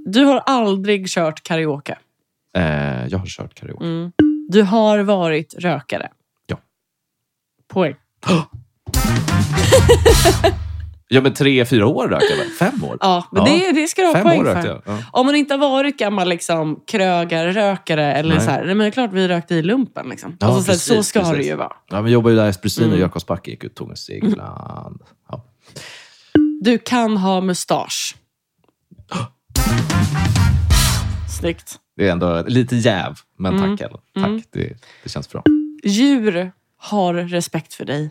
Speaker 2: Du har aldrig kört karaoke.
Speaker 1: Eh, jag har kört karaoke.
Speaker 2: Du har varit rökare.
Speaker 1: Ja.
Speaker 2: Poäng.
Speaker 1: Ja, men tre, fyra år rökte jag väl? Fem år?
Speaker 2: Ja, men
Speaker 1: Ja.
Speaker 2: Det, det ska du ha
Speaker 1: Fem
Speaker 2: poäng
Speaker 1: år
Speaker 2: för.
Speaker 1: rökte jag. Ja.
Speaker 2: Om man inte har varit gammal liksom, krögarrökare eller
Speaker 1: Nej.
Speaker 2: så här, nej men det är klart vi rökte i lumpen. Liksom.
Speaker 1: Ja,
Speaker 2: alltså, så, här, så
Speaker 1: precis,
Speaker 2: ska det
Speaker 1: precis.
Speaker 2: ju vara.
Speaker 1: Ja, men jag jobbar ju där i Espresso
Speaker 2: Mm.
Speaker 1: och Jakobsbacke. Gick ut, tog en cigg ibland. Ja.
Speaker 2: Du kan ha mustasch. Snyggt.
Speaker 1: Det är ändå lite jäv, men
Speaker 2: Mm.
Speaker 1: tack. Ellen. Tack, det, det känns bra.
Speaker 2: Djur har respekt för dig.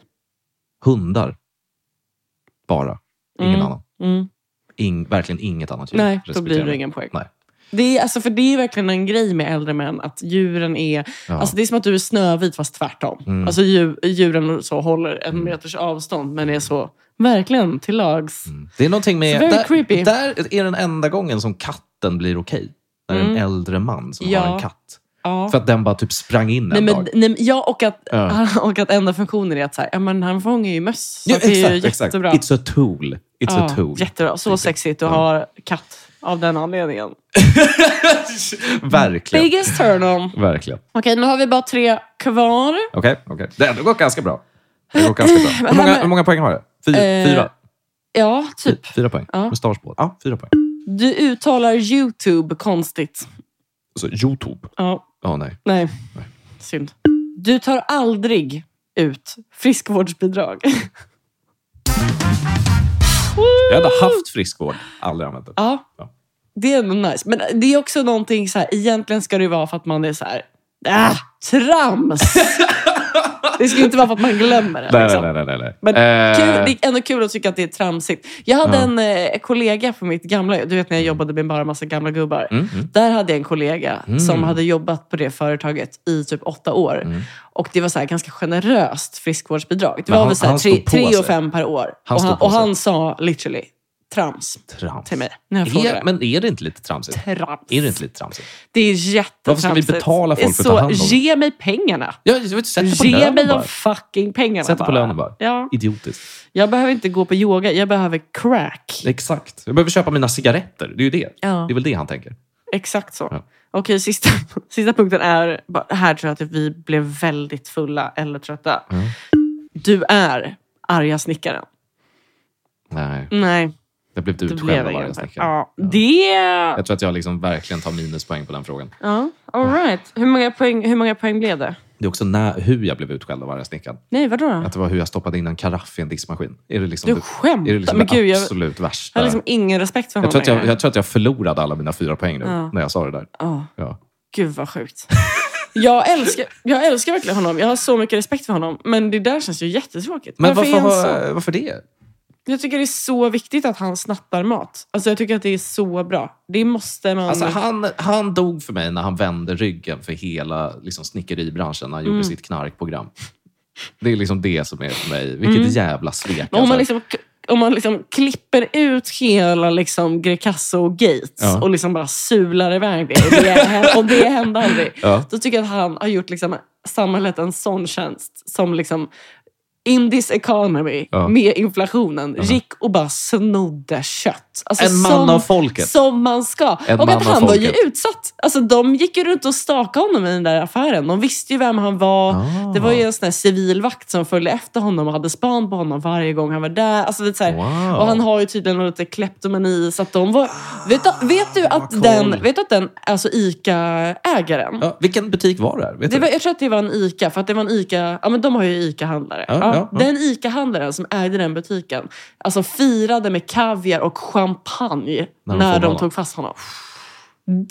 Speaker 1: Hundar. Bara. Ingen
Speaker 2: Mm.
Speaker 1: annan.
Speaker 2: Mm.
Speaker 1: In, verkligen inget annat djur.
Speaker 2: Nej, då blir
Speaker 1: respekterar
Speaker 2: det
Speaker 1: mig.
Speaker 2: ingen poäng.
Speaker 1: Nej.
Speaker 2: Det är, alltså, för det är verkligen en grej med äldre män, att djuren är...
Speaker 1: Ja.
Speaker 2: Alltså, det är som att du är Snövit, fast tvärtom.
Speaker 1: Mm.
Speaker 2: Alltså, djur, djuren så håller en meters avstånd, men är så verkligen till lags.
Speaker 1: Mm. Det är någonting med...
Speaker 2: It's very
Speaker 1: där,
Speaker 2: creepy.
Speaker 1: där är den enda gången som katten blir okej. När en äldre man som
Speaker 2: Mm. Ja.
Speaker 1: har en katt.
Speaker 2: Ja.
Speaker 1: För att den bara typ sprang in en
Speaker 2: Nej, men, alltså,
Speaker 1: dag.
Speaker 2: nej, men, ja, och att,
Speaker 1: Ja.
Speaker 2: och att enda funktionen är att så här, ja, men han fångar ju möss. Så
Speaker 1: Ja,
Speaker 2: att det är ju
Speaker 1: exakt, exakt.
Speaker 2: jättebra.
Speaker 1: It's a tool. It's It's a tool.
Speaker 2: Jättebra. Så sexigt att ha katt av den anledningen.
Speaker 1: Verkligen.
Speaker 2: Biggest turn on.
Speaker 1: Verkligen.
Speaker 2: Okej, nu har vi bara tre kvar.
Speaker 1: Okej, okej. Det har ändå gått ganska bra. Det har gått ganska bra. Hur många, hur många poäng har du? Fy,
Speaker 2: Eh,
Speaker 1: fyra?
Speaker 2: Ja, typ.
Speaker 1: Fyra poäng.
Speaker 2: Ja.
Speaker 1: Mustaschbåt. Ja, fyra poäng.
Speaker 2: Du uttalar YouTube konstigt.
Speaker 1: Så Youtube.
Speaker 2: Ja,
Speaker 1: Ja, nej.
Speaker 2: nej. Synd. Du tar aldrig ut friskvårdsbidrag.
Speaker 1: Jag hade haft friskvård. Aldrig använt det.
Speaker 2: Ja,
Speaker 1: Ja.
Speaker 2: det är ändå nice. Men det är också någonting så här, egentligen ska det ju vara för att man är så här, ah, trams! det ska ju inte vara för att man glömmer det.
Speaker 1: Nej,
Speaker 2: liksom.
Speaker 1: nej, nej. nej, nej.
Speaker 2: Men
Speaker 1: Eh,
Speaker 2: Kul, det är ändå kul att tycka att det är tramsigt. Jag hade
Speaker 1: Ja.
Speaker 2: en eh, kollega från mitt gamla Du vet när jag jobbade med bara massa gamla gubbar.
Speaker 1: Mm, mm.
Speaker 2: Där hade jag en kollega
Speaker 1: Mm.
Speaker 2: som hade jobbat på det företaget i typ åtta år.
Speaker 1: Mm.
Speaker 2: Och det var så här ganska generöst friskvårdsbidrag. Det
Speaker 1: Men
Speaker 2: var
Speaker 1: han-
Speaker 2: väl så här
Speaker 1: han
Speaker 2: tre,
Speaker 1: stod på
Speaker 2: tre och
Speaker 1: sig.
Speaker 2: fem per år.
Speaker 1: Han
Speaker 2: och,
Speaker 1: stod
Speaker 2: han,
Speaker 1: på
Speaker 2: och
Speaker 1: sig.
Speaker 2: han sa literally trams
Speaker 1: Trams.
Speaker 2: till mig. När jag frågade.
Speaker 1: Är, men är det inte lite tramsigt?
Speaker 2: Trams.
Speaker 1: Är det inte lite tramsigt?
Speaker 2: Det är jättetramsigt.
Speaker 1: Varför ska vi betala folk
Speaker 2: Det är
Speaker 1: för att ta hand om
Speaker 2: så,
Speaker 1: dem?
Speaker 2: Ge mig pengarna.
Speaker 1: Ja, jag vet, sätt det på
Speaker 2: Ge mig
Speaker 1: lönen
Speaker 2: de
Speaker 1: bara.
Speaker 2: fucking pengarna
Speaker 1: Sätt det på
Speaker 2: bara.
Speaker 1: lönen bara.
Speaker 2: Ja.
Speaker 1: Idiotiskt.
Speaker 2: Jag behöver inte gå på yoga, jag behöver crack.
Speaker 1: Exakt. Jag behöver köpa mina cigaretter. Det är ju det.
Speaker 2: Ja.
Speaker 1: Det är väl det han tänker.
Speaker 2: Exakt så.
Speaker 1: Ja.
Speaker 2: Okej, sista, sista punkten är... bara- Här tror jag att vi blev väldigt fulla eller trötta.
Speaker 1: Mm.
Speaker 2: Du är arga snickaren.
Speaker 1: Nej,
Speaker 2: Nej,
Speaker 1: jag blev
Speaker 2: det
Speaker 1: blivit utskälld
Speaker 2: blev
Speaker 1: av
Speaker 2: ingen.
Speaker 1: varje
Speaker 2: poäng.
Speaker 1: snickare.
Speaker 2: Ja, det...
Speaker 1: Jag tror att jag liksom verkligen tar minuspoäng på den frågan.
Speaker 2: Ja, all right. Hur många poäng, hur många poäng blev det?
Speaker 1: Det är också när, hur jag blev utskälld av varje snickaren.
Speaker 2: Nej, vadå då?
Speaker 1: Att det var hur jag stoppade in en karaff i en diskmaskin. Är det liksom
Speaker 2: Du
Speaker 1: det,
Speaker 2: skämtar?
Speaker 1: är det, liksom
Speaker 2: Men
Speaker 1: det
Speaker 2: gud, jag, jag
Speaker 1: absolut värsta?
Speaker 2: har liksom ingen respekt för
Speaker 1: jag,
Speaker 2: honom
Speaker 1: tror att jag,
Speaker 2: längre.
Speaker 1: jag tror att jag förlorade alla mina fyra poäng nu,
Speaker 2: Ja.
Speaker 1: när jag sa det där.
Speaker 2: Ja.
Speaker 1: Ja.
Speaker 2: Gud vad sjukt. Jag älskar, jag älskar verkligen honom. Jag har så mycket respekt för honom. Men det där känns ju jättetråkigt.
Speaker 1: Men varför,
Speaker 2: är han så?
Speaker 1: har- varför det?
Speaker 2: Jag tycker det är så viktigt att han snattar mat. Alltså jag tycker att det är så bra. Det måste man...
Speaker 1: Alltså, han, han dog för mig när han vände ryggen för hela liksom, snickeribranschen när han
Speaker 2: Mm.
Speaker 1: gjorde sitt knarkprogram. Det är liksom det som är för mig. Vilket jävla svek.
Speaker 2: Mm. Men
Speaker 1: alltså.
Speaker 2: om, man liksom, om man liksom klipper ut hela liksom Grecasso och Gates
Speaker 1: Ja.
Speaker 2: och liksom bara sular iväg det och det, och det hände aldrig.
Speaker 1: Ja.
Speaker 2: Då tycker jag att han har gjort liksom samhället en sån tjänst som liksom in this economy
Speaker 1: Ja.
Speaker 2: med inflationen gick och bara snodde kött. Alltså
Speaker 1: En man
Speaker 2: som,
Speaker 1: av folket.
Speaker 2: Som man ska.
Speaker 1: En
Speaker 2: och
Speaker 1: man
Speaker 2: att
Speaker 1: av
Speaker 2: han var ju
Speaker 1: folket.
Speaker 2: utsatt. Alltså, de gick ju runt och stakade honom i den där affären. De visste ju vem han var.
Speaker 1: Ah.
Speaker 2: Det var ju en sån här civilvakt som följde efter honom och hade span på honom varje gång han var där. Alltså, det är så här,
Speaker 1: Wow.
Speaker 2: Och han har ju tydligen lite kleptomani. Så att de var, vet, du- vet du att
Speaker 1: Ah, Vad cool.
Speaker 2: den, vet du att den alltså ICA-ägaren
Speaker 1: Ja, vilken butik var det här? Vet
Speaker 2: det
Speaker 1: du?
Speaker 2: var, jag tror att det var en ICA, för att det var en ICA, ja men de har ju ICA-handlare.
Speaker 1: Ja,
Speaker 2: Ja,
Speaker 1: ja, ja.
Speaker 2: Den ICA-handlaren som ägde den butiken, alltså firade med kaviar och champagne när
Speaker 1: När
Speaker 2: de,
Speaker 1: de fångade honom.
Speaker 2: tog fast honom.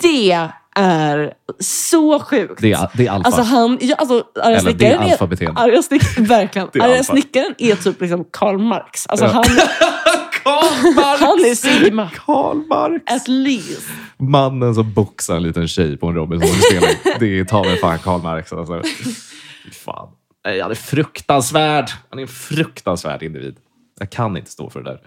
Speaker 2: Det är så sjukt.
Speaker 1: Det är, det är alfa.
Speaker 2: Alltså han, ja, alltså arga
Speaker 1: Eller det
Speaker 2: snickaren
Speaker 1: är
Speaker 2: är,
Speaker 1: alfabeteende.
Speaker 2: arga snick, verkligen.
Speaker 1: Det är
Speaker 2: Arga
Speaker 1: alfa.
Speaker 2: snickaren är typ liksom Karl Marx. Alltså
Speaker 1: Ja.
Speaker 2: han,
Speaker 1: Karl Marx!
Speaker 2: han är Sigma.
Speaker 1: Karl Marx!
Speaker 2: At least.
Speaker 1: Mannen som boxar en liten tjej på en Robinson-inspelning. det är ta mig fan Karl Marx. Alltså. Fy Fan. Nej, han är fruktansvärd. Han är en fruktansvärd individ. Jag kan inte stå för det där.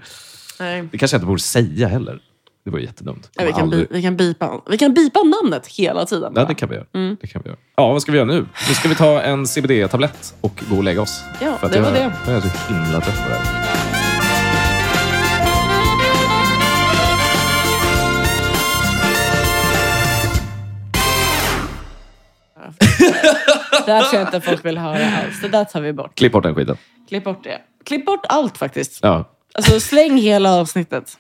Speaker 2: Nej.
Speaker 1: Det kanske jag inte borde säga heller. Det var ju jättedumt.
Speaker 2: Nej, Vi kan, bi-
Speaker 1: Aldrig-
Speaker 2: vi, kan bipa, vi kan bipa namnet hela tiden.
Speaker 1: Ja,
Speaker 2: bara.
Speaker 1: det kan vi göra.
Speaker 2: Mm.
Speaker 1: Det kan vi göra. Ja, vad ska vi göra nu? Nu ska vi ta en CBD-tablett och gå och lägga oss.
Speaker 2: Ja,
Speaker 1: För att
Speaker 2: det var
Speaker 1: jag,
Speaker 2: det.
Speaker 1: Jag är så himla trött på det här.
Speaker 2: Det där tror jag inte folk vill höra alls. Det där tar vi bort.
Speaker 1: Klipp bort den skiten.
Speaker 2: Klipp bort det. Klipp bort allt faktiskt.
Speaker 1: Ja.
Speaker 2: Alltså släng hela avsnittet.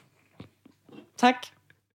Speaker 2: Tack.